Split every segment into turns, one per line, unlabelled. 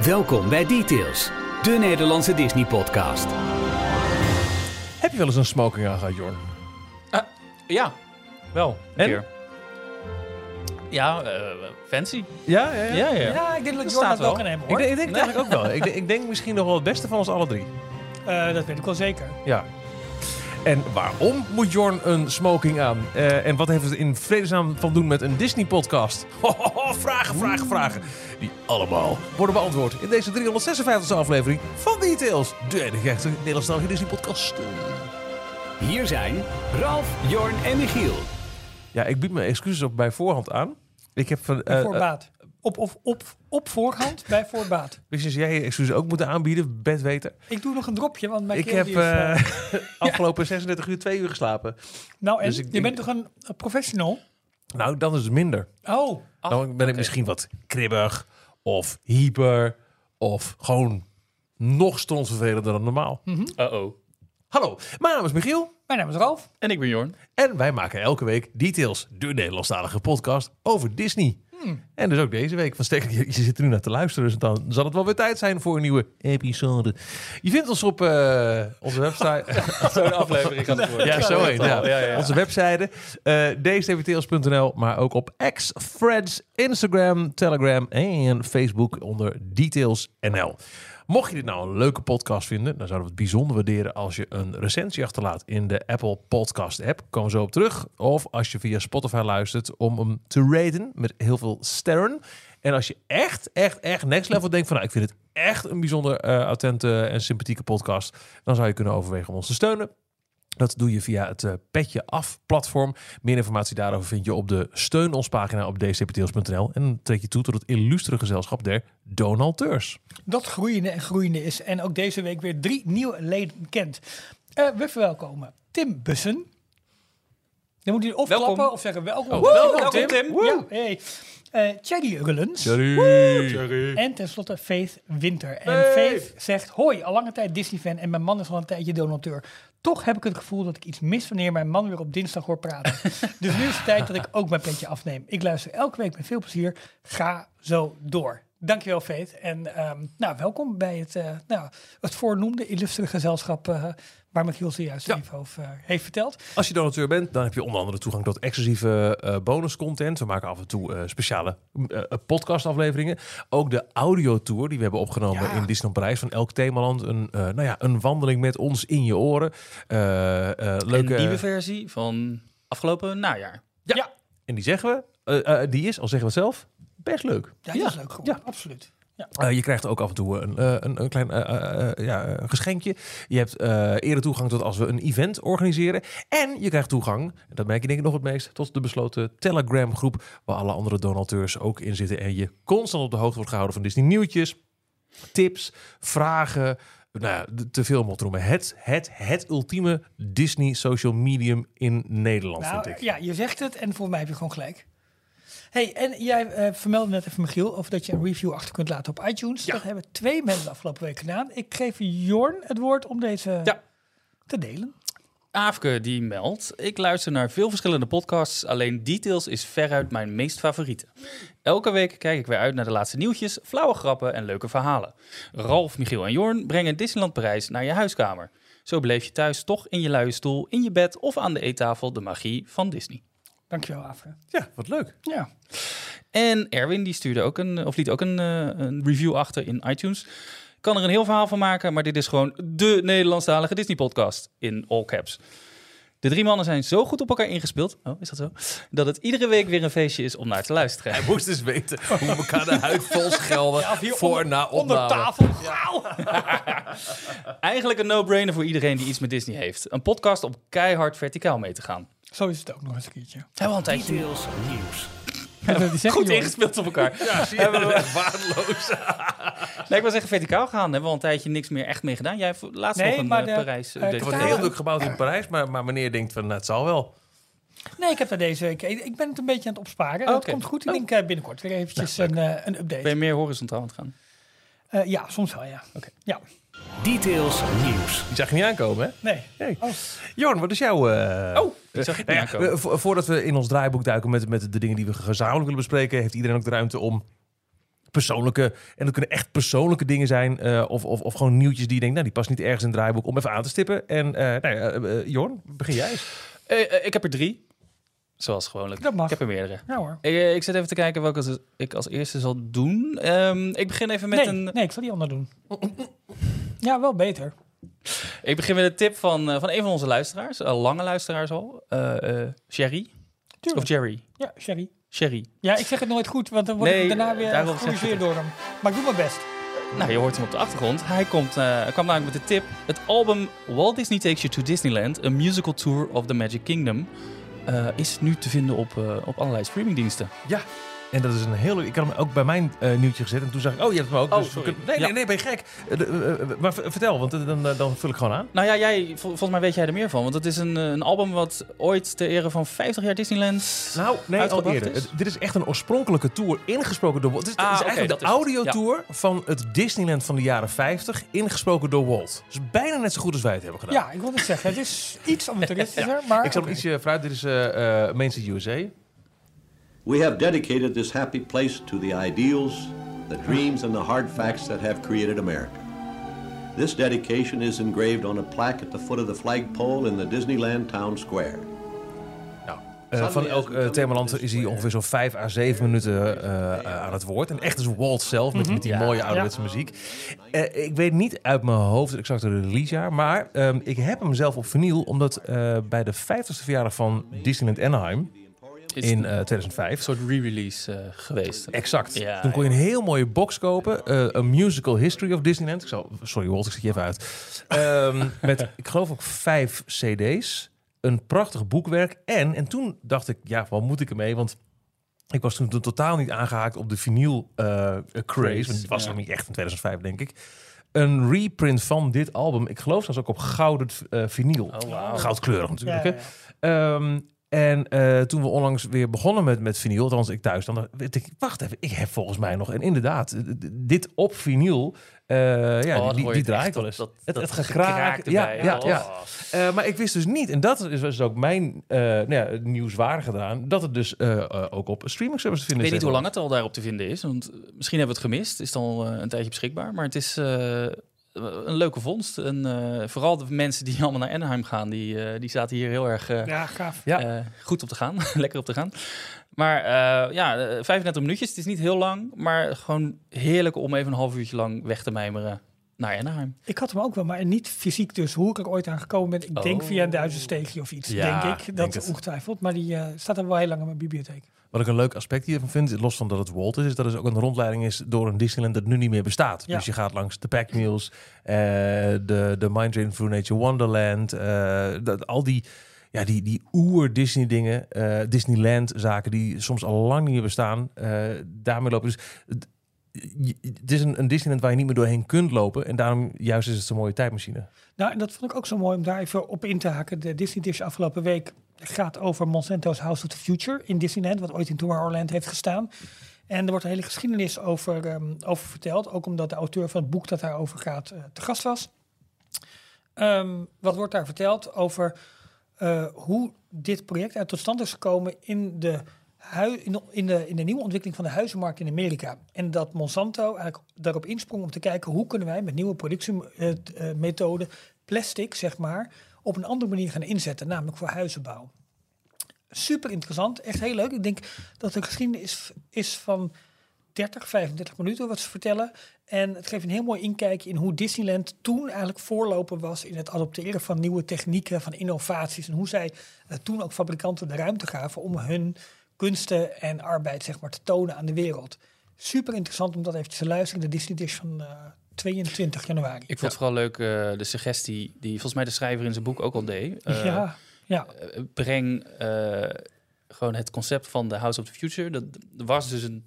Welkom bij Details, de Nederlandse Disney-podcast.
Heb je wel eens een smoking aan gehad, Jorn?
Eh, Ja, wel. Een
En?
keer. Ja, eh, fancy.
Ja, ja, ja.
Ja, ja.
Ja,
Dat
ik denk dat Jordan
staat
het wel
wel.
kan hebben
Ik,
hoor.
denk- ik denk het eigenlijk ook wel. Ik, denk- ik denk misschien nog wel het beste van ons alle drie.
Eh, dat weet ik wel zeker.
Ja. En waarom moet Jorn een smoking aan? Eh, en wat heeft het in vredesnaam van doen met een Disney-podcast? Ho, ho, ho, vragen, vragen, vragen. Die allemaal worden beantwoord in deze 356e aflevering van Details. De enige echte Nederlandse Disney-podcast.
Hier zijn Ralf, Jorn en Michiel.
Ja, ik bied mijn excuses op bij voorhand aan. Ik heb van...
Bij
eh, eh,
voorbaat. Op, op, op, op voorhand bij voorbaat.
wist je dat jij je excuses ook moeten aanbieden, bedweter?
Ik doe nog een dropje, want mijn
Ik
keel
heb
die is... eh,
eh, afgelopen 36 uur twee uur geslapen.
nou, en
dus ik-
je
ik-
bent toch een, een professional?
Nou, dan is het minder.
Oh,
dan ben ik misschien wat kribbig of hyper of gewoon nog stronsvervelender dan normaal.
Uh-oh.
Hallo, mijn naam is Michiel
mijn naam is Ralf.
En ik ben Jorn.
en wij maken elke week Details, de Nederlandstalige podcast over Disney. En dus ook deze week. Van Stek, je, je zit er nu naar te luisteren, dus dan zal het wel weer tijd zijn voor een nieuwe episode. Je vindt ons op eh, onze website.
Zo'n Oh, aflevering gaat het worden.
Ja, zo heet ja.
Ja, ja.
Onze website, eh details.nl, maar ook op X, Threads, Instagram, Telegram en Facebook onder details.nl. Mocht je dit nou een leuke podcast vinden, dan zouden we het bijzonder waarderen als je een recensie achterlaat in de Apple Podcast app. Komen we zo op terug. Of als je via Spotify luistert om hem te raten met heel veel sterren. En als je echt, echt, echt next level denkt van nou, ik vind het echt een bijzonder eh, attente en sympathieke podcast, dan zou je kunnen overwegen om ons te steunen. Dat doe je via het eh, Petje Af platform. Meer informatie daarover vind je op de Steun ons pagina op dcpteels.nl. En dan treed je toe tot het illustere gezelschap der donateurs.
Dat groeiende en groeiende is. En ook deze week weer drie nieuwe leden kent. Eh, we verwelkomen Tim Bussen. Dan moet hij of
Welkom.
klappen of zeggen welkom.
Oh, welkom,
Tim.
Ja, hey. Eh, Thierry Rullens. En tenslotte Faith Winter. En Faith zegt: Hoi, al lange tijd Disney-fan en mijn man is al een tijdje donateur. Toch heb ik het gevoel dat ik iets mis wanneer mijn man weer op dinsdag hoort praten. dus nu is het tijd dat ik ook mijn petje afneem. Ik luister elke week met veel plezier. Ga zo door. Dankjewel, Faith. En ehm, nou, welkom bij het, eh, nou, het voornoemde illustere gezelschap. eh, waar Michiel zojuist
Ja.
even over eh, heeft verteld.
Als je donateur bent, dan heb je onder andere toegang tot exclusieve eh bonus content. We maken af en toe eh, speciale eh, eh, podcastafleveringen. Ook de audiotour die we hebben opgenomen
Ja.
in Disneyland Parijs. Van elk themaland een, eh, nou ja, een wandeling met ons in je oren. Eh, eh, leuke,
Een nieuwe versie van afgelopen najaar.
ja. En die zeggen we, eh, eh, die is, al zeggen we het zelf, best leuk.
Ja, dat is leuk. geworden, absoluut.
Eh, je krijgt ook af en toe een, eh, een, een klein eh, eh, eh, ja, eh, geschenkje. Je hebt eh, eerder toegang tot als we een event organiseren. En je krijgt toegang, en dat merk je denk ik nog het meest, tot de besloten Telegram groep. Waar alle andere donateurs ook in zitten. En je constant op de hoogte wordt gehouden van Disney nieuwtjes, tips, vragen. Nou, ja, d- te veel om op te noemen. Het, het, het ultieme Disney social medium in Nederland,
Nou,
vind ik.
Ja, je zegt het en voor mij heb je gewoon gelijk. hey, en jij eh, vermeldde net even, Michiel, of dat je een review achter kunt laten op iTunes. Dat hebben twee mensen afgelopen week gedaan. Ik geef Jorn het woord om deze
Ja.
te delen.
Aafke die meldt. Ik luister naar veel verschillende podcasts. Alleen Details is veruit mijn meest favoriete. Elke week kijk ik weer uit naar de laatste nieuwtjes, flauwe grappen en leuke verhalen. Ralf, Michiel en Jorn brengen Disneyland Parijs naar je huiskamer. Zo beleef je thuis toch in je luie stoel, in je bed of aan de eettafel de magie van Disney.
Dankjewel, Afra.
Ja, wat leuk.
Ja.
En Erwin die stuurde ook een, of liet ook een, eh, een review achter in iTunes. Kan er een heel verhaal van maken, maar dit is gewoon de Nederlandstalige Disney-podcast in all caps. De drie mannen zijn zo goed op elkaar ingespeeld, oh, is dat zo? Dat het iedere week weer een feestje is om naar te luisteren.
Hij moest dus weten hoe we elkaar de huid vol schelden voor
onder,
na
onder
opname.
tafel. Gauw.
Eigenlijk een no-brainer voor iedereen die iets met Disney heeft. Een podcast om keihard verticaal mee te gaan.
Zo is het ook nog eens een keertje.
Hebben we al een tijdje
Details nieuws.
goed ingespeeld op elkaar.
Ja, zie je, dat is echt waardeloos.
Nee, ik wil zeggen verticaal gaan. Hebben we al een tijdje niks meer echt mee gedaan. Jij hebt laatst
Nee,
nog een
maar
eh,
de-
Parijs...
eh,
update
Er
Het
wordt
gedaan.
heel druk gebouwd in Parijs, maar, maar meneer denkt van, nou, het zal wel.
Nee, ik heb daar deze week. Ik ik ben het een beetje aan het opsparen.
Oh,
dat
oké.
komt goed. Ik denk eh, binnenkort weer eventjes een, eh, een update.
Ben je meer horizontaal aan het gaan?
Eh, ja, soms wel, ja. Oké. Ja,
Details nieuws.
Die zag je niet aankomen, hè?
nee.
Nee.
Oh.
Jorn, wat is jouw... eh,
Oh, ik zag het niet
nou ja,
aankomen.
we- vo- voordat we in ons draaiboek duiken met, met de dingen die we gezamenlijk willen bespreken, heeft iedereen ook de ruimte om persoonlijke. En dat kunnen echt persoonlijke dingen zijn. eh, of, of, of gewoon nieuwtjes die je denkt, nou die past niet ergens in het draaiboek om even aan te stippen. En eh nou ja, eh, eh, Jorn, begin jij eens.
Eh, eh, ik heb er drie. Zoals gewoonlijk.
Dat mag.
Ik heb er meerdere.
Ja hoor.
Ik, eh, ik zit even te kijken welke als- ik als eerste zal doen. Ehm, ik begin even met
nee,
een. Oh,
nee, ik zal die ander doen. Ja, wel beter.
Ik begin met een tip van, eh, van een van onze luisteraars. Een lange luisteraars al. Eh, eh, Sherry.
Tuurlijk.
Of Jerry.
Ja, Sherry.
Sherry.
Ja, ik zeg het nooit goed, want dan word
Nee,
ik daarna weer
daarom zeg ik
gecorrigeerd door hem. Maar ik doe mijn best.
Nou, je hoort hem op de achtergrond. Hij komt, eh, kwam namelijk met de tip. Het album Walt Disney Takes You to Disneyland, A Musical Tour of the Magic Kingdom, eh, is nu te vinden op, eh, op allerlei streamingdiensten.
En dat is een hele. Ik had hem ook bij mijn eh, nieuwtje gezet. En toen zag ik, oh, je hebt hem ook.
Oh,
dus we
sorry.
kunnen- nee,
Ja.
nee, nee, ben je gek. Eh, de- eh, eh, maar v- vertel, want eh, dan, eh, dan vul ik gewoon aan.
Nou ja, jij, vol- volgens mij weet jij er meer van. Want het is een, eh, een album wat ooit ter ere van 50 jaar Disneyland...
Nou, nee, al
Uitgebracht
eerder.
is?
Het- Dit is echt een oorspronkelijke tour, ingesproken door Walt. Dit is, dit
Ah,
is
oké,
eigenlijk de
dat is het.
audiotour van het Disneyland van de jaren 50, ingesproken door Walt. Dus bijna net zo goed als wij het hebben gedaan.
Ja, ik wil het zeggen. Het is iets amateuristischer, maar...
Ik zal hem
oké.
ietsje vooruit. Dit is eh eh Main Street USA.
We have dedicated this happy place to the ideals, the dreams, and the hard facts that have created America. This dedication is engraved on a plaque at the foot of the flagpole in the Disneyland Town Square.
Nou, eh, van elk eh, themaland is hij ongeveer zo'n 5 à 7 minuten eh, eh, aan het woord. En echt is Walt zelf met, met die mooie ouderwetse muziek. Eh, ik weet niet uit mijn hoofd het exacte releasejaar. Maar ehm, ik heb hem zelf op vinyl. Omdat eh, bij de 50ste verjaardag van Disneyland Anaheim
Is
in
een
eh, 2005.
soort re-release eh, geweest.
Exact.
Ja,
Toen kon je een heel mooie box kopen. eh een musical history of Disneyland. Ik zal, sorry Walt, ik zet je even uit. Ehm, met, ik geloof ook vijf cd's. Een prachtig boekwerk. En, en toen dacht ik, ja, wat moet ik ermee? Want ik was toen totaal niet aangehaakt op de vinyl eh, craze. Want die was
ja.
nog niet echt in 2005, denk ik. Een reprint van dit album. Ik geloof zelfs ook op gouden eh vinyl.
Oh, wauw.
Goudkleurig natuurlijk.
Ja,
hè? Ehm, en eh, toen we onlangs weer begonnen met, met vinyl, althans ik thuis, dan dacht ik, wacht even, ik heb volgens mij nog, en inderdaad, d- d- dit op vinyl, eh, ja,
Oh,
die,
dan hoor
die,
je
die
het
draait
echt,
wel eens.
dat-
het,
dat
het gekraak,
gekraak
ja,
erbij.
ja,
Oh.
ja. Eh, maar ik wist dus niet, en dat is, was ook mijn eh nou ja, nieuwswaardig gedaan, dat het dus eh, eh, ook op streaming service te
Ik
vinden
weet niet
is.
hoe lang het al daarop te vinden is. Want eh, misschien hebben we het gemist. Is dan al eh, een tijdje beschikbaar. Maar het is eh, een leuke vondst. En eh, vooral de mensen die allemaal naar Anaheim gaan, die, eh, die zaten hier heel erg eh,
Ja, gaaf.
Ja.
eh, goed op te gaan. Lekker op te gaan. Maar eh, ja, eh, 35 minuutjes. Het is niet heel lang. Maar gewoon heerlijk om even een half uurtje lang weg te mijmeren naar Anaheim.
Ik had hem ook wel, maar niet fysiek dus. Hoe ik er ooit aan gekomen ben, ik denk
Oh.
via een Duitserssteegje of iets,
Ja,
denk ik.
ik
Dat
denk het.
ongetwijfeld, maar die eh, staat er wel heel lang in mijn bibliotheek.
Wat ik een leuk aspect hiervan vind, los van dat het Walt is, is dat het ook een rondleiding is door een Disneyland dat nu niet meer bestaat.
Ja.
Dus je gaat langs de Pack Mules, eh, de, de Mind Drain Through Nature Wonderland, eh, dat, al die, ja, die, die oer-Disney dingen, eh, Disneyland zaken die soms al lang niet meer bestaan, eh, daarmee lopen. Dus het- je- het is een, een Disneyland waar je niet meer doorheen kunt lopen en daarom juist is het zo'n mooie tijdmachine.
Nou, en dat vond ik ook zo mooi om daar even op in te haken. De Disney Dish afgelopen week gaat over Monsanto's House of the Future in Disneyland, wat ooit in Tomorrowland heeft gestaan. En er wordt een hele geschiedenis over, ehm, over verteld, ook omdat de auteur van het boek dat daarover gaat eh, te gast was. Ehm, wat wordt daar verteld over eh, hoe dit project uit tot stand is gekomen in de, hui- in, de, in, de, in de nieuwe ontwikkeling van de huizenmarkt in Amerika. En dat Monsanto eigenlijk daarop insprong om te kijken hoe kunnen wij met nieuwe productiemethoden eh, plastic, zeg maar, op een andere manier gaan inzetten, namelijk voor huizenbouw. Super interessant, echt heel leuk. Ik denk dat de geschiedenis is van 30, 35 minuten wat ze vertellen. En het geeft een heel mooi inkijkje in hoe Disneyland toen eigenlijk voorloper was in het adopteren van nieuwe technieken, van innovaties. En hoe zij eh, toen ook fabrikanten de ruimte gaven om hun kunsten en arbeid zeg maar, te tonen aan de wereld. Super interessant om dat eventjes te luisteren. De Disney Dish van eh, 22 januari.
Ik vond vooral leuk eh, de suggestie die volgens mij de schrijver in zijn boek ook al deed. Eh,
ja, ja.
eh, breng eh, gewoon het concept van de House of the Future. Dat er was dus een,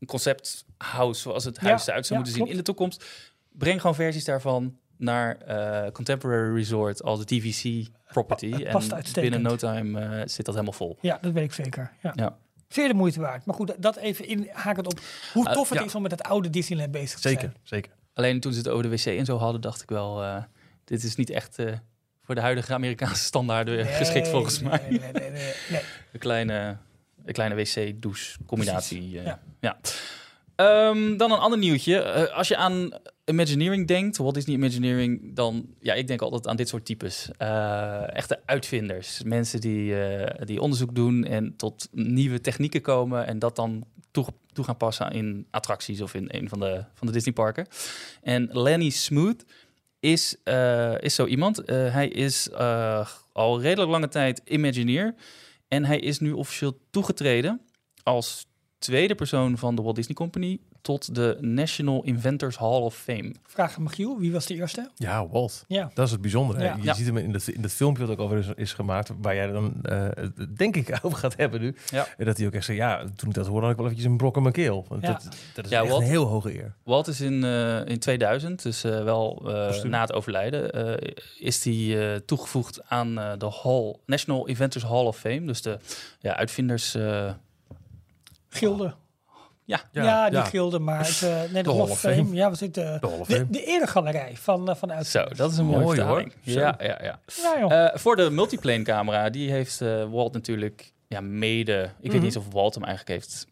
een concept house, zoals het
Ja,
huis eruit zou
ja,
moeten zien
klopt.
in de toekomst. Breng gewoon versies daarvan naar eh, Contemporary Resort als de DVC property.
het past
en
uitstekend.
binnen no time eh, zit dat helemaal vol.
ja, dat weet ik zeker. Ja.
Ja.
Zeer de moeite waard. Maar goed, dat even inhakend op hoe
Eh,
tof het
ja.
is om met het oude Disneyland bezig te zijn.
Zeker, zeker.
Alleen toen ze het over de wc en zo hadden, dacht ik wel, eh, dit is niet echt eh, voor de huidige Amerikaanse standaarden
Nee,
geschikt volgens
nee,
mij.
Nee, nee, nee, nee. Nee.
Een kleine, een kleine wc-douche combinatie. eh,
ja.
ja. Ehm, dan een ander nieuwtje. Eh, als je aan Imagineering denkt, Walt Disney Imagineering, dan... Ja, ik denk altijd aan dit soort types. Eh, echte uitvinders. Mensen die, eh, die onderzoek doen en tot nieuwe technieken komen... en dat dan toe, toe gaan passen in attracties of in een van de, van de Disneyparken. En Lenny Smooth is, eh, is zo iemand. Eh, hij is eh, al redelijk lange tijd Imagineer. En hij is nu officieel toegetreden als tweede persoon van de Walt Disney Company tot de National Inventors Hall of Fame.
Vraag aan Michiel, wie was de eerste?
Ja, Walt.
Ja.
Dat is het bijzondere. hè.
Ja.
Je
Ja.
ziet hem in dat, in dat filmpje dat ook alweer is, is gemaakt, waar jij dan eh, het denk ik over gaat hebben nu.
Ja.
En Dat hij ook echt zei, ja, toen ik dat hoorde had ik wel eventjes een brok in mijn keel. Want
Ja.
dat, dat is
Ja,
echt
Walt.
een heel hoge eer.
Walt is in, eh, in 2000, dus eh, wel eh, na het overlijden, eh, is hij eh, toegevoegd aan eh, de Hall, National Inventors Hall of Fame. Dus de ja, uitvinders... eh,
Gilde.
Oh. ja,
Ja, die gilde, maar het, eh, nee, de, Hall of Fame. Ja, was dit eh,
De Hall of
de,
Fame.
de eregalerij van, eh, van de
zo,
uitzenders.
dat is een mooie
Mooi, hoor. Oh.
vertaling. Ja, ja, ja.
Ja, joh.
Eh, voor de multiplane camera, die heeft eh, Walt natuurlijk ja, mede... Ik weet niet of Walt hem eigenlijk heeft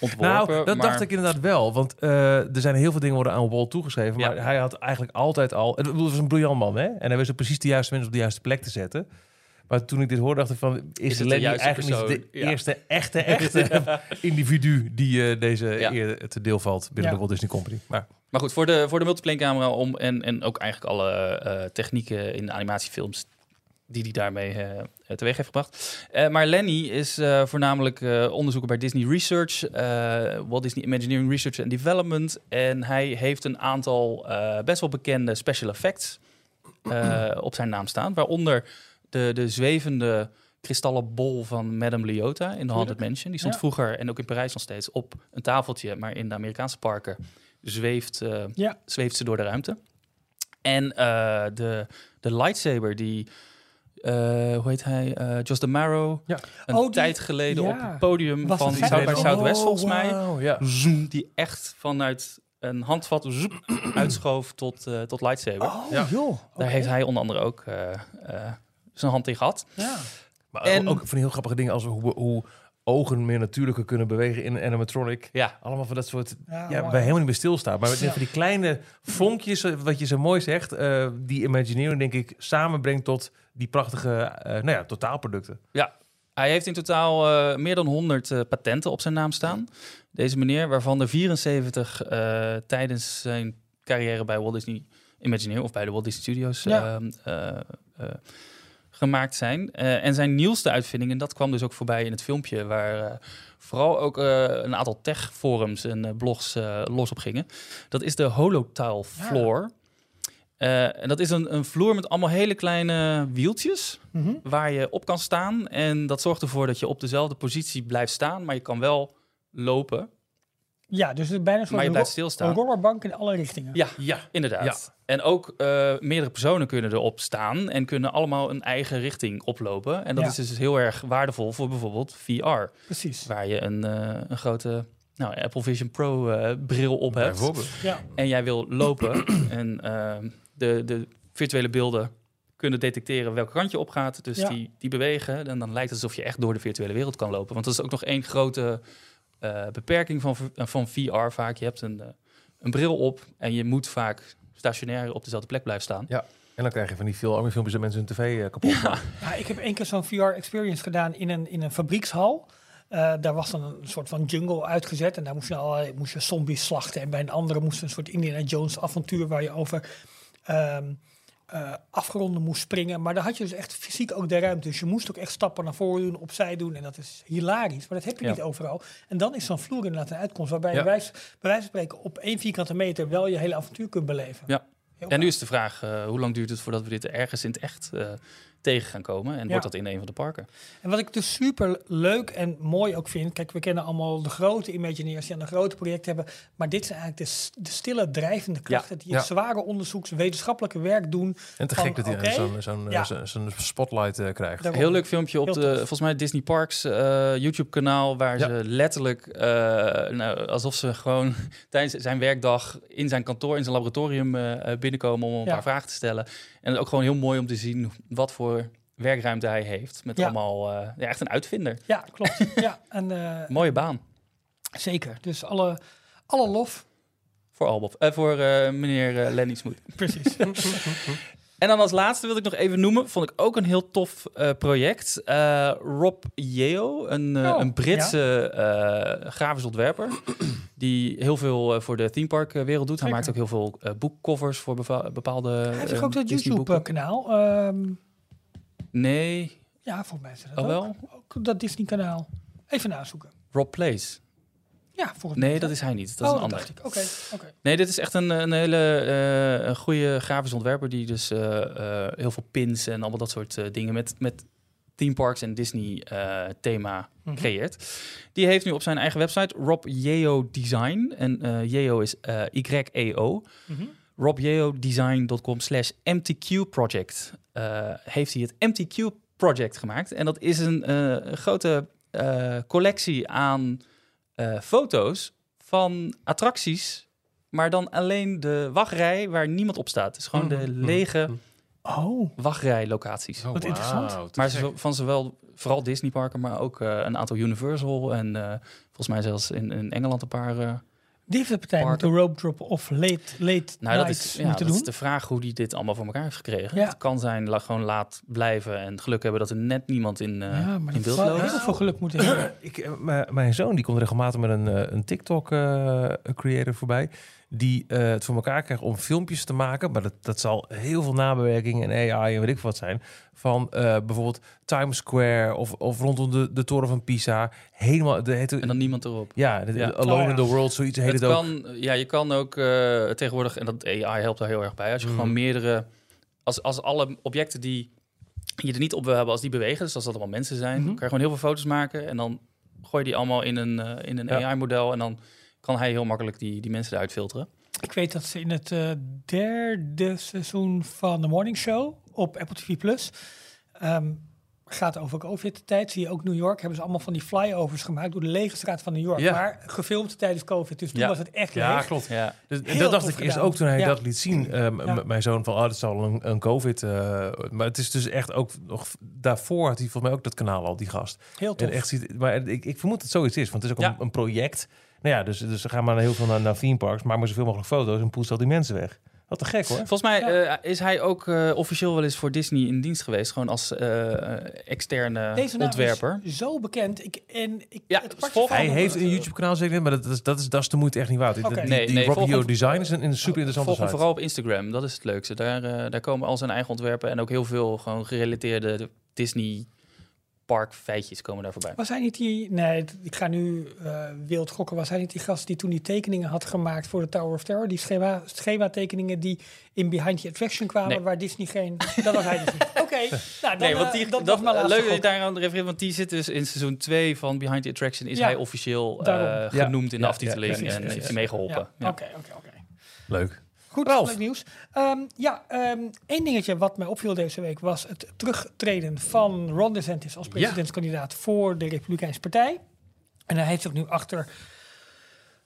ontworpen.
Mhm. Nou, dat
maar-
dacht ik inderdaad wel. Want eh, er zijn heel veel dingen worden aan Walt toegeschreven.
Ja.
Maar hij had eigenlijk altijd al... Het was een briljant man, hè? En hij wist ook precies de juiste mensen op de juiste plek te zetten. Maar toen ik dit hoorde, dacht ik van... Is,
het de
Lenny
juiste
eigenlijk niet
persoon?
de
Ja.
eerste echte, echte individu... die eh, deze
Ja.
eer te deel valt binnen
Ja.
de Walt Disney Company? Maar
Maar goed, voor de, voor de multiplane camera om en, en ook eigenlijk alle eh, technieken in de animatiefilms die hij daarmee eh, eh, teweeg heeft gebracht. Eh, maar Lenny is eh, voornamelijk eh, onderzoeker bij Disney Research, eh, Walt Disney Imagineering Research and Development. En hij heeft een aantal eh, best wel bekende special effects eh, op zijn naam staan. Waaronder de, de zwevende kristallen bol van Madame Leota in de Haunted Mansion. Die stond
Ja.
vroeger en ook in Parijs nog steeds op een tafeltje. Maar in de Amerikaanse parken zweeft, eh,
ja,
zweeft ze door de ruimte. En eh, de, de lightsaber die... eh, hoe heet hij? Eh Josh DeMaro.
Ja.
Een
Oh, die-
tijd geleden
ja.
op het podium
Was
van
het
South by
Oh,
Southwest volgens mij. Mm.
Wauw, ja.
Zoom, die echt vanuit een handvat zoep, uitschoof tot, eh, tot lightsaber.
oh
Ja.
joh.
Daar heeft hij onder andere ook eh, eh, zijn hand in gehad.
Ja.
Maar
En-
ook van die heel grappige dingen als hoe, hoe ogen meer natuurlijker kunnen bewegen in een animatronic.
Ja.
Allemaal van dat soort...
Ja,
Ja,
mooi.
waar je helemaal niet meer stilstaan. Maar met
Ja.
van die kleine vonkjes, eh, wat je zo mooi zegt... eh, die Imagineering, denk ik, samenbrengt tot die prachtige eh, nou ja, totaalproducten.
Ja, hij heeft in totaal eh, meer dan 100 eh, patenten op zijn naam staan. Deze meneer, waarvan er 74 eh, tijdens zijn carrière bij Walt Disney Imagineer of bij de Walt Disney Studios
Ja.
ehm, eh, eh, gemaakt zijn. Eh, en zijn nieuwste uitvinding, en dat kwam dus ook voorbij in het filmpje, waar eh, vooral ook eh, een aantal tech-forums en eh, blogs eh, los op gingen. Dat is de Holotile Floor. Eh, en dat is een, een vloer met allemaal hele kleine wieltjes
Mhm.
waar je op kan staan. En dat zorgt ervoor dat je op dezelfde positie blijft staan, maar je kan wel lopen.
ja, dus het is bijna een soort
Maar je blijft
ro-
stilstaan.
een rollerbank in alle richtingen.
Ja, ja inderdaad. En ook eh, meerdere personen kunnen erop staan en kunnen allemaal een eigen richting oplopen. En dat
Ja.
is dus heel erg waardevol voor bijvoorbeeld VR,
Precies.
waar je een, eh, een grote nou, Apple Vision Pro eh, bril op hebt.
Ja.
en jij wil lopen en ehm, de, de virtuele beelden kunnen detecteren welke kant je op gaat. Dus
Ja.
die, die bewegen en dan lijkt het alsof je echt door de virtuele wereld kan lopen. Want dat is ook nog één grote eh, beperking van, v- eh, van VR vaak. Je hebt een, eh, een bril op en je moet vaak stationair op dezelfde plek blijven staan.
Ja. En dan krijg je van die veel arme filmpjes dat mensen hun tv eh, kapot maken.
Ja, ik heb één keer zo'n VR-experience gedaan in een, in een fabriekshal. Eh, daar was dan een soort van jungle uitgezet. En daar moest je, allerlei, moest je zombies slachten. En bij een andere moest een soort Indiana Jones avontuur... waar je over ehm, eh, afgronden moest springen. Maar daar had je dus echt fysiek ook de ruimte. Dus je moest ook echt stappen naar voren doen, opzij doen. En dat is hilarisch, maar dat heb je
Ja.
niet overal. En dan is zo'n vloer inderdaad een uitkomst... waarbij
Ja.
je bij wijze, bij wijze van spreken op één vierkante meter... wel je hele avontuur kunt beleven.
Ja.
Heel
En nu is de vraag, eh, hoe lang duurt het voordat we dit ergens in het echt eh, tegen gaan komen? En
Ja.
wordt dat in een van de parken?
En wat ik dus super leuk en mooi ook vind, kijk, we kennen allemaal de grote Imagineers die aan een grote project hebben, maar dit zijn eigenlijk de, s- de stille drijvende krachten die het
ja.
zware onderzoeks, wetenschappelijke werk doen.
En te
Van,
gek dat hij
oké,
eh, zo'n zo'n, eh,
ja.
zo'n- zo'n spotlight eh, krijgt.
Daarom.
Heel leuk filmpje op
Heel
de,
tof.
volgens mij, Disney Parks eh, YouTube-kanaal. Waar
Ja.
ze letterlijk, eh, nou, alsof ze gewoon tijdens zijn werkdag in zijn kantoor, in zijn laboratorium eh, eh, binnenkomen om een
Ja.
paar vragen te stellen. En het ook gewoon heel mooi om te zien wat voor werkruimte hij heeft. Met
Ja.
allemaal, eh, ja, echt een uitvinder.
Ja, klopt. ja, en eh,
Mooie baan.
zeker. Dus alle, alle lof.
Voor Albof. Eh, voor eh, meneer eh, Lenny Smoot.
Precies.
En dan als laatste wil ik nog even noemen, vond ik ook een heel tof eh, project. Eh, Rob Yeo, een, eh,
Oh,
een Britse eh, grafisch ontwerper. die heel veel eh, voor de theme park eh, wereld doet. Hij
Zeker.
maakt ook heel veel eh, boekcovers voor beva- bepaalde.
Hij heeft
eh,
toch ook dat
Disney-boeken?
YouTube-kanaal. Ehm,
Nee,
ja, volgens mij is dat
oh
ook.
wel.
Ook dat Disney-kanaal. Even nazoeken.
Rob Plays.
Ja, volgens mij.
Nee, dat is hij niet. Dat
oh,
is een
dat
ander.
dacht ik. Oké, oké.
Nee, dit is echt een, een hele eh, een goede grafisch ontwerper die dus eh, eh, heel veel pins en allemaal dat soort eh, dingen met, met theme parks en Disney eh, thema creëert. Die heeft nu op zijn eigen website Rob Yeo Design. En eh Yeo is eh Y-E-O. robyeodesign.com slash MTQ project. eh, heeft hij het MTQ project gemaakt. En dat is een eh, grote eh, collectie aan eh, foto's van attracties, maar dan alleen de wachtrij waar niemand op staat. Het is gewoon de lege
Oh,
wachtrijlocaties.
Oh,
Wat interessant.
wauw, te
Maar
gek.
zo- van zowel vooral Disneyparken, maar ook eh, een aantal Universal en eh, volgens mij zelfs in, in Engeland een paar. eh,
die heeft de partij met de
Parken.
rope drop of late, late
nou, dat
nights
is, ja,
moeten
dat is
doen.
de vraag hoe die dit allemaal voor elkaar heeft gekregen.
Ja.
Het kan zijn la, gewoon laat blijven en geluk hebben dat er net niemand in, eh
ja, maar
in
dat
beeld
zou
loopt.
heel veel geluk moeten hebben.
Ik, eh, mijn- mijn zoon die komt regelmatig met een, eh, een TikTok-creator voorbij. Die eh, het voor elkaar krijgt om filmpjes te maken. Maar dat, dat zal heel veel nabewerking en AI en weet ik wat zijn. Van eh, bijvoorbeeld Times Square of, of rondom de, de Toren van Pisa. Helemaal. De, heet,
En dan niemand erop.
ja, de-
Ja.
Alone
Oh, ja.
in the World, zoiets heet
Het
het, ook.
kan, ja, je kan ook eh, tegenwoordig, en dat AI helpt daar heel erg bij, als
Mm.
je gewoon meerdere, als, als alle objecten die je er niet op wil hebben, als die bewegen, dus als dat allemaal mensen
Mhm.
zijn, kan je gewoon heel veel foto's maken en dan gooi je die allemaal in een, eh, in een
Ja.
AI-model en dan kan hij heel makkelijk die, die mensen eruit filteren.
Ik weet dat ze in het eh, derde seizoen van de Morning Show op Apple TV Plus. ehm, gaat over COVID-tijd. Zie je ook New York. Hebben ze allemaal van die flyovers gemaakt door de lege straat van New York.
Ja.
Maar gefilmd tijdens COVID. Dus toen
Ja.
was het echt
Ja,
leeg.
klopt.
Ja.
Dus, en
Heel
dat dacht
tof
ik eerst
gedaan.
ook toen hij
Ja.
dat liet zien. Eh, m-
Ja.
m- Mijn zoon van, oh, dat zal een, een COVID. eh, maar het is dus echt ook nog... Daarvoor had hij volgens mij ook dat kanaal al, die gast.
Heel tof.
En echt, ziet- maar ik, ik vermoed dat het zoiets is, want het is ook
Ja.
een, een project. Nou ja, dus, dus ze gaan maar heel veel naar, naar theme parks, maak maar zoveel mogelijk foto's en poest al die mensen weg. Wat te gek hoor.
Volgens mij
Ja.
eh, is hij ook eh, officieel wel eens voor Disney in dienst geweest, gewoon als eh, externe
Deze naam
ontwerper.
is zo bekend. Ik, en ik,
Ja,
het
volg
van-
Hij heeft een YouTube-kanaal zeker, maar dat is, dat is, dat is de moeite echt niet waard. Die-
Oké.
Die,
Nee,
die
nee,
Rob
volg
Yo
hem-
Design is een, een super interessante
Volg hem
site.
vooral op Instagram, dat is het leukste. Daar, eh, daar komen al zijn eigen ontwerpen en ook heel veel gewoon gerelateerde Disney park feitjes komen daar voorbij.
Was hij niet die... Nee, t- ik ga nu eh, wild gokken. Was hij niet die gast die toen die tekeningen had gemaakt voor de Tower of Terror? Die schema, schema tekeningen die in Behind the Attraction kwamen,
Nee.
waar Disney geen... Dat was hij dus niet. Oké, nou, dan,
Nee, want
eh,
die,
dat,
dat,
was mijn laatste
leuk dat je
gok.
daar aan refereert, want die zit dus in seizoen 2 van Behind the Attraction. Is
Ja,
hij officieel eh,
daarom.
Ja,
genoemd in
ja,
de aftiteling
ja, precies,
en
precies.
heeft hij meegeholpen.
Ja,
Ja.
Oké, oké, oké.
Leuk.
Goed,
Ralf.
leuk nieuws. Ehm, ja, ehm, één dingetje wat mij opviel deze week was het terugtreden van Ron DeSantis als presidentskandidaat voor de Republikeinse Partij. En hij heeft zich nu achter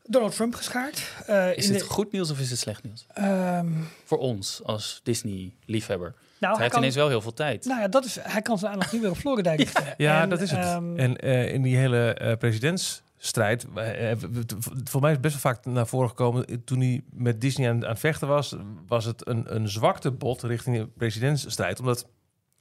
Donald Trump geschaard. Eh,
Is
in
het
de-
goed nieuws of is het slecht nieuws?
ehm,
Voor ons als Disney-liefhebber.
nou,
hij
hij
heeft
kan,
ineens wel heel veel tijd.
nou ja, dat is, hij kan zijn aandacht nu weer op Florida richten.
Ja,
En,
dat is het.
ehm,
en eh, in die hele eh, presidentsstrijd, eh, eh, v- v- voor mij is het best wel vaak naar voren gekomen, eh, toen hij met Disney aan, aan het vechten was, was het een, een zwakte bot richting de presidentsstrijd, omdat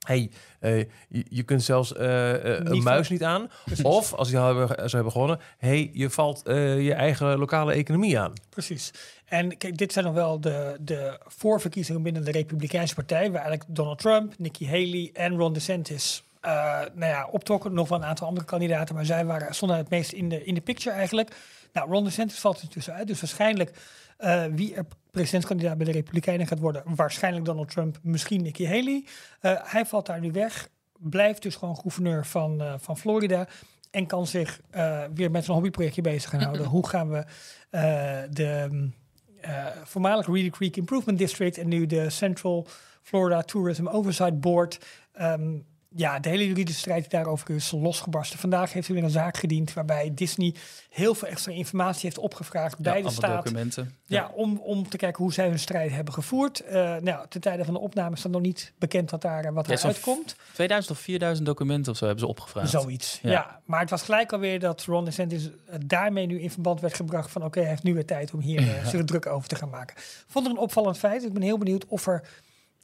hey, eh, je, je kunt zelfs eh, eh,
Niet
een muis niet aan, of als hij al hebben- zou hebben gewonnen, hey, je valt eh, je eigen lokale economie aan.
Precies. En kijk, dit zijn dan wel de, de voorverkiezingen binnen de Republikeinse Partij, waar eigenlijk Donald Trump, Nikki Haley en Ron DeSantis eh, nou ja, optrokken. Nog wel een aantal andere kandidaten, maar zij waren, stonden het meest in de, in de picture eigenlijk. Nou, Ron DeSantis valt er tussenuit, dus waarschijnlijk eh, wie er presidentskandidaat bij de Republikeinen gaat worden, waarschijnlijk Donald Trump, misschien Nikki Haley. Eh, hij valt daar nu weg, blijft dus gewoon gouverneur van, eh, van Florida en kan zich eh, weer met zijn hobbyprojectje bezig gaan houden. Hoe gaan we eh, de mm, eh, voormalig Reedy Creek Improvement District en nu de Central Florida Tourism Oversight Board ehm, ja, de hele juridische strijd die daarover is losgebarsten. Vandaag heeft u weer een zaak gediend waarbij Disney heel veel extra informatie heeft opgevraagd bij de
allemaal
staat.
documenten.
Ja, om, om te kijken hoe zij hun strijd hebben gevoerd. Eh, nou, ten tijde van de opname is dan nog niet bekend wat daar eh, wat
Ja,
er
zo'n
uitkomt.
2000 of 4000 documenten of zo hebben ze opgevraagd.
Zoiets.
Ja.
Ja. maar het was gelijk alweer dat Ron DeSantis eh, daarmee nu in verband werd gebracht van oké, hij heeft nu weer tijd om hier eh, zich druk over te gaan maken. Vond het een opvallend feit. Ik ben heel benieuwd of er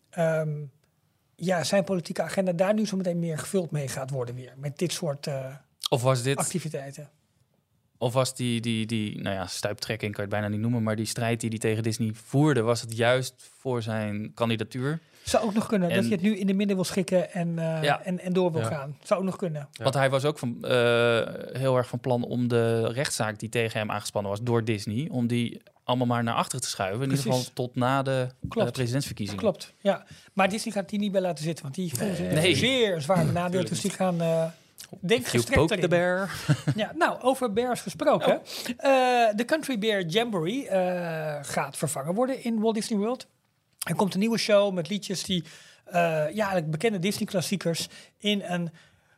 ehm, ja, zijn politieke agenda daar nu zo meteen meer gevuld mee gaat worden weer. Met dit soort eh,
Of was dit,
activiteiten.
of was die, die, die, nou ja, stuiptrekking kan je het bijna niet noemen, maar die strijd die hij tegen Disney voerde, was het juist voor zijn kandidatuur?
Zou ook nog kunnen
En-
dat je het nu in de midden wil schikken en, eh,
Ja.
en, en door wil
Ja.
gaan. Zou ook nog kunnen.
Want hij was ook van, eh, heel erg van plan om de rechtszaak die tegen hem aangespannen was door Disney, om die allemaal maar naar achter te schuiven. In ieder
Precies.
geval tot na de eh,
Klopt.
presidentsverkiezingen.
Klopt, ja. Maar Disney gaat die niet bij laten zitten, want die voelen zich
Nee.
zeer zwaar benadeeld. Dus die gaan, eh denk
You
gestrekt
poke the
erin.
bear. Oh.
Ja, nou, over bears gesproken. Eh, de Country Bear Jamboree eh, gaat vervangen worden in Walt Disney World. Er komt een nieuwe show met liedjes die eh, ja, eigenlijk bekende Disney-klassiekers in een...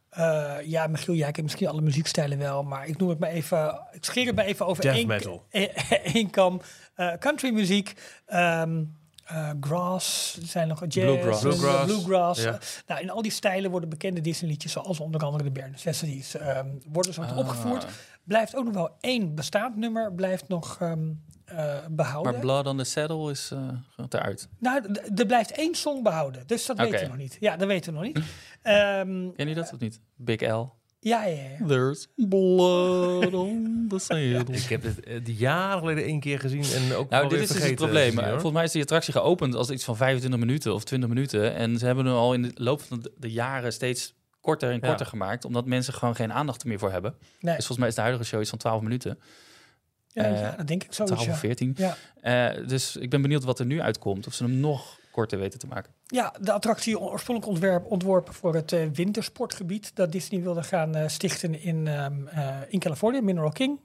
eh, ja, Michiel, jij kent misschien alle muziekstijlen wel, maar ik noem het maar even... Ik scheer het maar even over
Death
één,
metal.
eh, één kam. Eh, country muziek, ehm, eh, grass, er zijn nog jazz,
Bluegrass.
en, eh,
Bluegrass.
bluegrass.
Ja.
Nou, in al die stijlen worden bekende Disney-liedjes, zoals onder andere de Bear Necessities, ehm, worden zo opgevoerd. Blijft ook nog wel één bestaand nummer, blijft nog ehm, eh, behouden.
Maar Blood on the Saddle is eh, gaat eruit.
nou, d- er blijft één song behouden, dus dat
Oké.
weten we nog niet. Ja, dat weten we nog niet. Ehm,
Ken je dat of niet? Big L.
ja, ja, ja.
There's blood on the saddle.
Ik heb dit eh, die jaren geleden één keer gezien en ook
Nou,
wel weer
dit is dus het
vergeten,
probleem.
Disney, hoor.
Volgens mij is die attractie geopend als iets van 25 minuten of 20 minuten. En ze hebben hem al in de loop van de- de jaren steeds korter en
Ja.
korter gemaakt. Omdat mensen gewoon geen aandacht er meer voor hebben.
Nee.
Dus volgens mij is de huidige show iets van 12 minuten.
Ja,
eh,
ja, dat denk ik
12
sowieso.
of 14.
Oh, Ja.
Eh, dus ik ben benieuwd wat er nu uitkomt. Of ze hem nog korter weten te maken.
Ja, de attractie oorspronkelijk ontwerp, ontworpen voor het eh, wintersportgebied dat Disney wilde gaan eh, stichten in, ehm, eh, in Californië, Mineral King.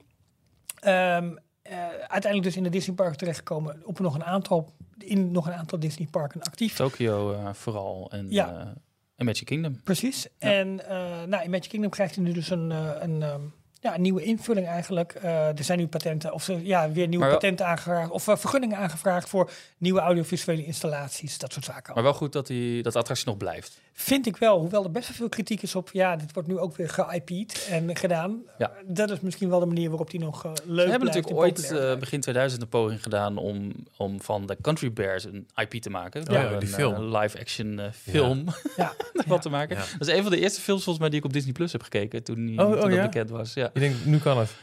Ehm, eh, uiteindelijk dus in de Disneypark terechtgekomen op nog een aantal, in nog een aantal Disneyparken actief.
Tokio eh, vooral en,
Ja.
eh, en Magic Kingdom.
Precies. En eh nou, in Magic Kingdom krijgt hij nu dus een, eh, een, ehm, ja, een nieuwe invulling eigenlijk. Eh, er zijn nu patenten, of er- ja, weer nieuwe
Maar wel-
patenten aangevraagd, of eh, vergunningen aangevraagd voor nieuwe audiovisuele installaties, dat soort zaken.
Maar wel goed dat, die, dat de attractie nog blijft.
Vind ik wel, hoewel er best wel veel kritiek is op, ja, dit wordt nu ook weer ge-IP'd en gedaan.
Ja.
Dat is misschien wel de manier waarop die nog eh, leuk
We hebben natuurlijk
blijft en
ooit
populair
eh,
blijft.
begin 2000 een poging gedaan om, om van de Country Bears een IP te maken. Door
ja,
een,
die
eh,
film.
live-action eh, film
Ja,
wat te maken.
Ja.
Dat is een van de eerste films volgens mij die ik op Disney Plus heb gekeken toen, die-
Oh,
toen
oh,
dat
ja?
bekend was. Ja.
Je denkt, nu kan het.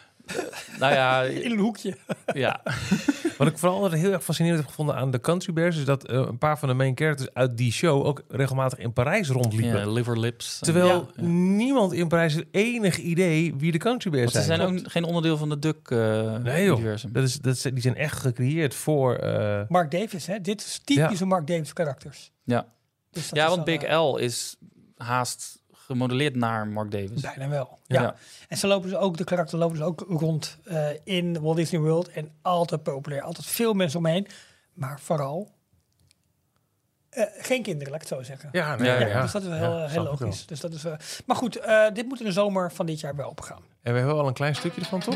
Nou ja,
in een hoekje.
ja.
Wat ik vooral altijd heel erg fascinerend heb gevonden aan de Country Bears... is dat eh, een paar van de main characters uit die show ook regelmatig in Parijs rondliepen.
ja Liver Lips.
Terwijl niemand in Parijs heeft enig idee wie de Country Bears
Want ze
zijn.
zijn ook geen onderdeel van de eh,
Nee joh,
Duck-universum.
dat is, dat zijn- die zijn echt gecreëerd voor... eh,
Mark Davis, hè? dit is typische Mark Davis karakters.
ja.
Dus dat
ja,
is
want
wel,
Big
eh,
L is haast gemodelleerd naar Mark Davis.
Bijna wel. Ja.
Ja.
En ze lopen dus ook, de karakter lopen dus ook rond eh, in Walt Disney World. En altijd populair. Altijd veel mensen omheen. Maar vooral eh, geen kinderen, laat ik het zo zeggen.
ja, nee,
Ja, ja,
dus dat is wel heel,
Ja,
heel
snap ik
logisch. Dus dat is, eh, maar goed, eh, dit moet in de zomer van dit jaar weer opgaan.
wel. En we hebben al een klein stukje ervan, toch?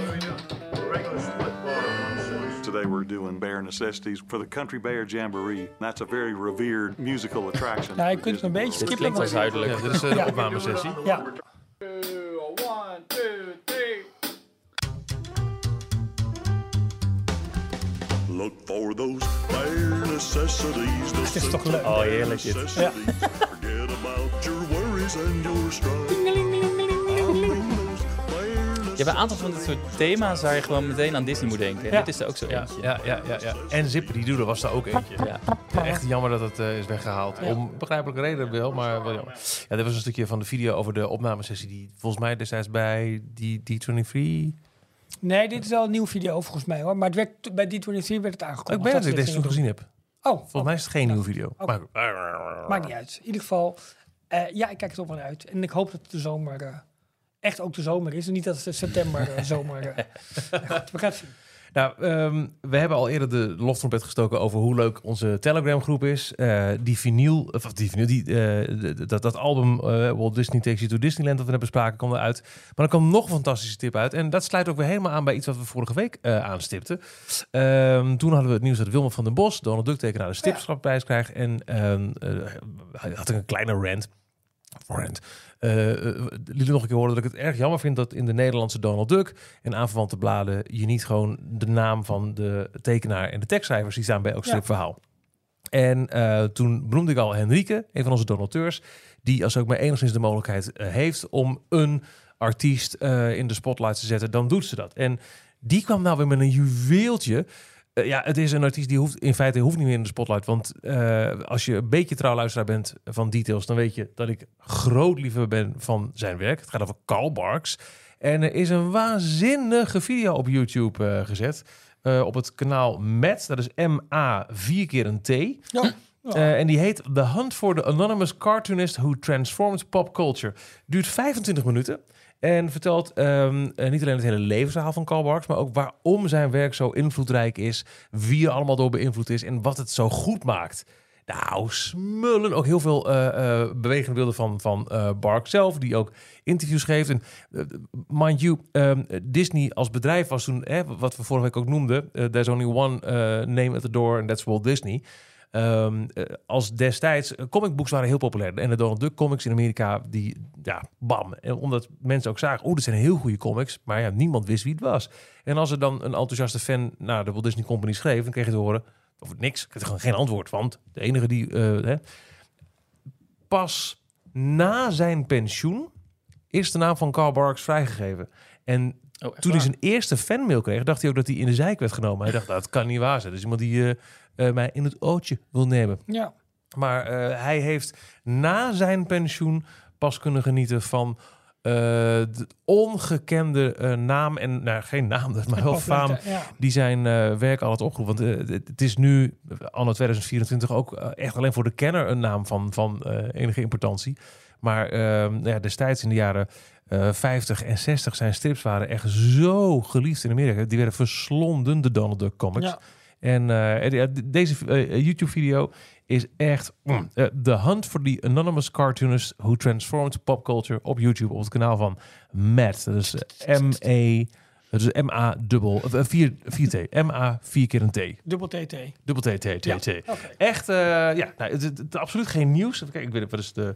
Today we're doing Bear Necessities for the Country Bear Jamboree. That's a very revered musical attraction.
Nou, je
for
kunt het een
Disney
beetje
World.
Dit
skippen.
klinkt wel zuidelijk.
maar-
Ja, dit is eh, de
Ja.
opnamesessie.
Ja,
One, two, three.
Look for those bear necessities. The
is toch leuk.
Oh, heerlijk dit. Forget about your worries and your strife.
Je hebt een aantal van dit soort thema's waar je gewoon meteen aan Disney moet denken. En
Ja.
dit is er ook zo eentje.
Ja, ja, ja, ja. En Zipper die Doodle was daar ook eentje.
Ja.
Ja, Echt jammer dat het eh, is weggehaald. Om begrijpelijke reden wel, maar wel jammer. Ja, dit was een stukje van de video over de opnamesessie die volgens mij destijds bij die D23...
nee, dit is al een nieuw video volgens mij hoor. Maar het werd, bij D23 werd het aangekondigd.
ik ben dat ik
dit
deze toen gezien heb.
Oh,
Volgens mij is het geen nieuwe video. Maar,
maakt niet uit. In ieder geval, eh, ja, ik kijk er toch wel naar uit. En ik hoop dat het de zomer eh, echt ook de zomer is. En niet dat het de september eh, zomer... eh, goed, we gaan het zien.
Nou, ehm, we hebben al eerder de loftrompet gestoken over hoe leuk onze Telegram-groep is. Eh, die vinyl, of die vinyl, die, eh, d- d- dat, dat album eh, Walt Disney Takes You to Disneyland dat we net bespraken kwam eruit. Maar er kwam nog een fantastische tip uit. En dat sluit ook weer helemaal aan bij iets wat we vorige week eh, aanstipten. Ehm, toen hadden we het nieuws dat Wilma van den Bos Donald Duck tekenaar de stipschapprijs krijgt. En ehm, eh, hij had een kleine rant. Rant. Eh, eh, liet nog een keer horen dat ik het erg jammer vind dat in de Nederlandse Donald Duck en aanverwante bladen je niet gewoon de naam van de tekenaar en de tekstschrijvers die staan bij elk stripverhaal. En eh, toen benoemde ik al Henrike, een van onze donateurs, die als ze ook maar enigszins de mogelijkheid eh, heeft om een artiest eh, in de spotlight te zetten, dan doet ze dat. En die kwam nou weer met een juweeltje. Eh, ja, het is een artiest die hoeft in feite hoeft niet meer in de spotlight. Want eh, als je een beetje trouw luisteraar bent van details, dan weet je dat ik groot liever ben van zijn werk. Het gaat over Carl Barks. En er is een waanzinnige video op YouTube eh, gezet. eh, op het kanaal Met, dat is M-A, vier keer een T. Eh, en die heet The Hunt for the Anonymous Cartoonist Who Transformed Pop Culture. Duurt 25 minuten en vertelt ehm, eh, niet alleen het hele levensverhaal van Karl Barks... maar ook waarom zijn werk zo invloedrijk is... wie er allemaal door beïnvloed is en wat het zo goed maakt. Nou, smullen. Ook heel veel eh, eh, bewegende beelden van, van eh, Barks zelf... die ook interviews geeft. En eh, mind you, ehm, Disney als bedrijf was toen... Hè, wat we vorige week ook noemden... eh, there's only one eh, name at the door and that's Walt Disney... Ehm, eh, als destijds, eh, comicbooks waren heel populair. En de Donald Duck comics in Amerika, die, ja, bam. En omdat mensen ook zagen, oeh, dit zijn heel goede comics. Maar ja, niemand wist wie het was. En als er dan een enthousiaste fan naar de Walt Disney Company schreef, dan kreeg je te horen, of niks, ik kreeg er gewoon geen antwoord. Want de enige die, eh, hè. pas na zijn pensioen, is de naam van Carl Barks vrijgegeven. En
Oh, echt
toen hij
waar?
zijn eerste fanmail kreeg, dacht hij ook dat hij in de zeik werd genomen. Hij dacht, dat kan niet waar zijn. Dus iemand die eh, eh, mij in het ootje wil nemen.
Ja.
Maar eh, hij heeft na zijn pensioen pas kunnen genieten van eh, de ongekende eh, naam. En nou, geen naam, maar wel faam.
Populariteit, ja.
Die zijn eh, werk al het opgeroepen. Want eh, het- het is nu, eh, anno 2024, ook eh, echt alleen voor de kenner een naam van, van eh, enige importantie. Maar ehm, nou ja, destijds in de jaren eh, 50 en 60 zijn strips waren echt zo geliefd in Amerika. Die werden verslonden, de Donald Duck comics.
Ja.
En eh, eh, de- deze eh, YouTube-video is echt mm, eh, The Hunt for the Anonymous Cartoonist Who Transformed Pop Culture op YouTube, op het kanaal van Matt. Dat is eh, M-E, dat is M-A dubbel, eh, vier, vier T, M-A vier keer een T.
Dubbel TT.
Dubbel T, T, T, T.
oké.
Echt, eh, ja, nou, het, het- het- absoluut geen nieuws. Even kijken, ik weet niet, wat is de,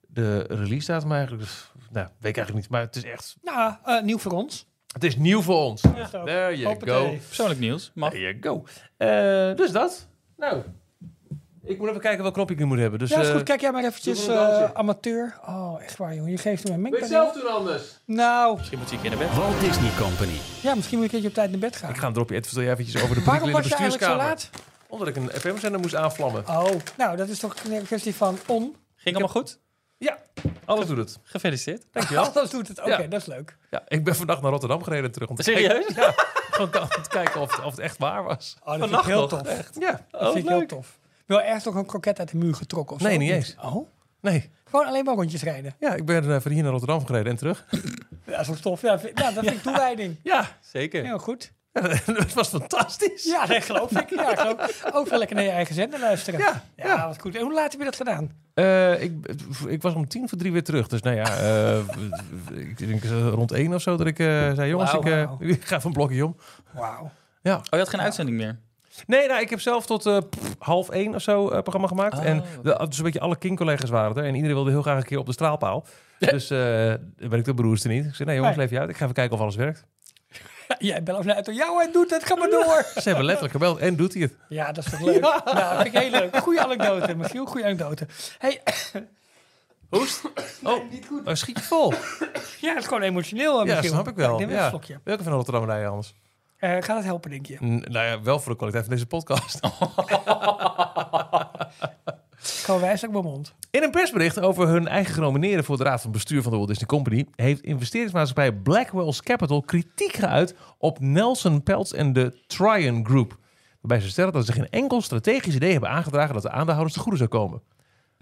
de release datum eigenlijk? Dus, nou, weet ik eigenlijk niet, maar het is echt,
Nou, eh, nieuw voor ons.
het is nieuw voor ons.
zo.
There you
Hoppatee.
go.
Persoonlijk nieuws. Mag.
There you go. Eh, dus dat. Nou, ik moet even kijken welk knopje ik nu moet hebben. Dus,
Ja, is
eh,
goed. Kijk jij maar eventjes,
doe maar een
eh,
dansje.
amateur. Oh, echt waar, jongen. Je geeft hem een
Weet
mengpaneel.
zelf doen anders.
Nou,
Misschien moet hij een keer naar bed.
Walt Disney Company.
ja, misschien moet ik een keertje op tijd naar bed gaan.
Ik ga een dropje Ed, vertel jij eventjes over de
Waarom
prikkel in
was
de
je eigenlijk zo
bestuurskamer.
laat?
Omdat ik een FM-zender moest aanvlammen.
Oh, nou, dat is toch een kwestie van on.
Ging allemaal goed?
Ja, alles doet het.
Gefeliciteerd.
Dankjewel.
Dat doet het. Oké,
Ja.
dat is leuk.
Ja, ik ben vannacht naar Rotterdam gereden terug. Om te
Serieus?
Kijken, ja, gewoon om te kijken of het, of het echt waar was.
Oh, dat vind ik
Vannacht
heel
nog,
tof.
Ja.
Dat vind ik heel tof. Wel ergens toch een kroket uit de muur getrokken of zo?
Nee, niet
Of
eens.
Oh?
Nee.
Gewoon alleen maar rondjes rijden.
Ja, ik ben eh, van hier naar Rotterdam gereden en terug.
Ja, dat is toch tof. Ja, vind- ja, dat vind ik toewijding.
Ja.
Zeker. Oh,
Heel goed.
dat was fantastisch.
Ja, dat geloof ik. Ja, geloof. Ook wel lekker naar je eigen zender luisteren.
Ja, ja.
wat goed. En hoe laat heb je dat gedaan?
Eh, ik, ik was om tien voor drie weer terug. Dus nou ja, eh, ik denk eh, rond één of zo dat ik eh, zei... jongens,
Wauw,
ik, eh,
wauw.
ik ga van blokje om.
Wauw.
Ja.
Oh, je had geen uitzending meer.
Nee, nou, ik heb zelf tot eh, pff, half één of zo eh, programma gemaakt.
Oh,
en
oké.
de, dus een beetje alle kin-collega's waren er. En iedereen wilde heel graag een keer op de straalpaal. Dus eh ben ik de beroerste niet. Ik zei, nee jongens,
Nee.
leef je uit. Ik ga even kijken of alles werkt.
Jij belt naar uit door jou en doet het. Ga maar door.
Ze hebben letterlijk gebeld. En doet hij het?
Ja, dat is toch leuk. Nou, vind ik heel leuk. Goeie anekdote, Michiel. Goeie anekdote. Hey,
Hoest? Oh, oh, schiet je vol.
ja, het is gewoon emotioneel, eh,
Ja,
Michiel.
snap ik
Ik
wel.
neem even
Ja.
een slokje.
Welke van Rotterdam rijden anders?
Eh, gaat het helpen, denk je?
nou ja, wel voor de kwaliteit van deze podcast.
Ik hou wijs op mijn mond.
In een persbericht over hun eigen genomineerden voor de raad van bestuur van de Walt Disney Company heeft investeringsmaatschappij Blackwell's Capital kritiek geuit op Nelson Peltz en de Tryon Group. Waarbij ze stellen dat ze geen enkel strategisch idee hebben aangedragen dat de aandeelhouders te goede zou komen.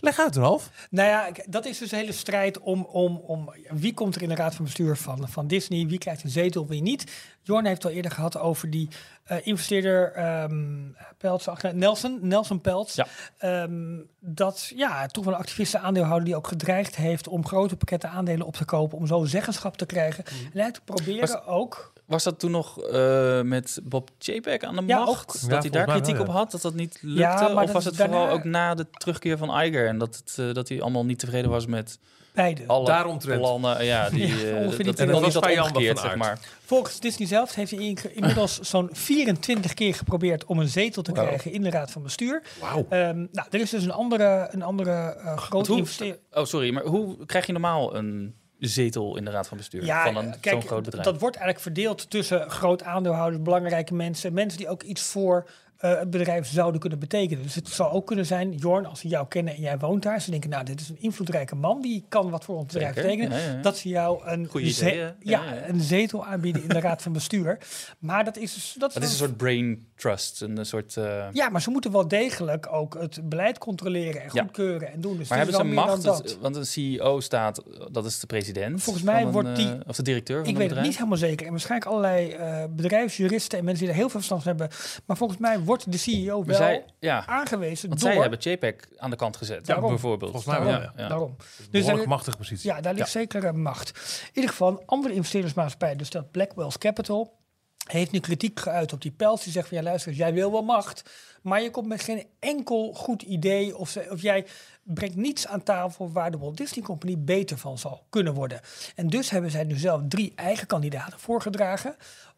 Leg uit, Ralf.
Nou ja, k- dat is dus de hele strijd om, om, om wie komt er in de raad van bestuur van, van Disney, wie krijgt een zetel, wie niet. Jorn heeft het al eerder gehad over die eh, investeerder ehm Peltz, ach, nee, Nelson, Nelson Peltz.
Ja.
Ehm, dat ja, toch wel een activiste aandeelhouder die ook gedreigd heeft om grote pakketten aandelen op te kopen, om zo zeggenschap te krijgen.
Mhm.
En hij te proberen
Was-
ook,
Was dat toen nog eh, met Bob Chapek aan de
Ja,
macht?
ook. Ja,
dat hij daar
volgens mij wel,
kritiek op
ja.
had, dat dat niet lukte?
Ja, maar
of
dat
was
is
het vooral
daarna-
ook na de terugkeer van Iger en dat, het, eh, dat hij allemaal niet tevreden was met
beide.
alle
Daaromtrent.
plannen? Ja, die,
Ja,
eh,
ongeveer die
dat hij
twee. En dat
dan niet
was
had
vijandig
omgekeerd,
van
zeg
aard.
maar.
Volgens Disney zelf heeft hij in- inmiddels
Ah.
zo'n 24 keer geprobeerd om een zetel te
Wauw.
krijgen in de raad van bestuur.
Wauw.
Ehm, nou, er is dus een andere, een andere eh,
Want
grote
hoe-
investeer.
oh, sorry, maar hoe krijg je normaal een zetel in de raad van bestuur van een,
eh, kijk,
zo'n groot bedrijf?
dat wordt eigenlijk verdeeld tussen groot aandeelhouders, belangrijke mensen, mensen die ook iets voor eh, het bedrijf zouden kunnen betekenen. Dus het zou ook kunnen zijn, Jorn, als ze jou kennen en jij woont daar, ze denken, nou, dit is een invloedrijke man, die kan wat voor ons bedrijf
Zeker,
betekenen,
ja, ja.
dat ze jou een,
Goeie idee, hè? Ja,
ja,
ja.
een zetel aanbieden in de raad van bestuur. Maar dat is, dus- dat
dat is een
wel-
soort brain trust, een soort... eh,
Ja, maar ze moeten wel degelijk ook het beleid controleren en
Ja.
goedkeuren en doen. Dus
Maar
het is
hebben ze
wel meer
macht? eh,
dan dat.
Dat- want een CEO staat, dat is de president.
Volgens mij
van een,
wordt die-
eh, of de directeur van
Ik
een
weet het
bedrijf.
niet helemaal zeker. En waarschijnlijk allerlei eh, bedrijfsjuristen en mensen die er heel veel verstand van hebben. Maar volgens mij wordt de CEO wel
Maar zij, ja,
aangewezen
want
door...
zij hebben JPEG aan de kant gezet,
Daarom.
bijvoorbeeld.
Volgens mij wel,
ja.
ja.
ja.
Daarom.
Dus
Dus
een
daar,
machtige positie.
ja, daar ligt zeker eh, macht. In ieder geval, andere investeringsmaatschappij, dus dat Blackwell's Capital, heeft nu kritiek geuit op die pels. Die zegt van, ja luister, eens, jij wil wel macht, maar je komt met geen enkel goed idee of, ze- of jij brengt niets aan tafel waar de Walt Disney Company beter van zal kunnen worden. En dus hebben zij nu zelf drie eigen kandidaten voorgedragen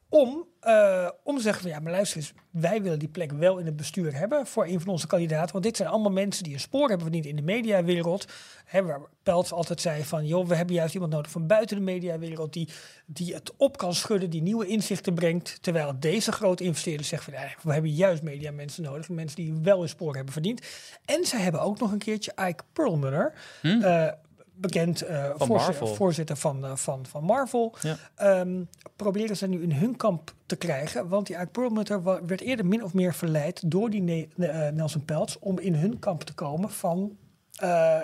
om, eh, om te zeggen van ja, maar luister eens, wij willen die plek wel in het bestuur hebben voor een van onze kandidaten. Want dit zijn allemaal mensen die een spoor hebben verdiend in de mediawereld. Hè, waar Peltz altijd zei van joh, we hebben juist iemand nodig van buiten de mediawereld die, die het op kan schudden, die nieuwe inzichten brengt. Terwijl deze grote investeerders zeggen van nee, we hebben juist mediamensen nodig, mensen die wel een spoor hebben verdiend. En ze hebben ook nog een keertje Ike Perlmutter. eh, Bekend eh, voorzitter,
Marvel.
voorzitter van, eh, van, van Marvel.
Ja.
Ehm, proberen ze nu in hun kamp te krijgen. Want die Ike Perlmutter wa- werd eerder min of meer verleid door die ne- ne- eh, Nelson Peltz om in hun kamp te komen van. eh,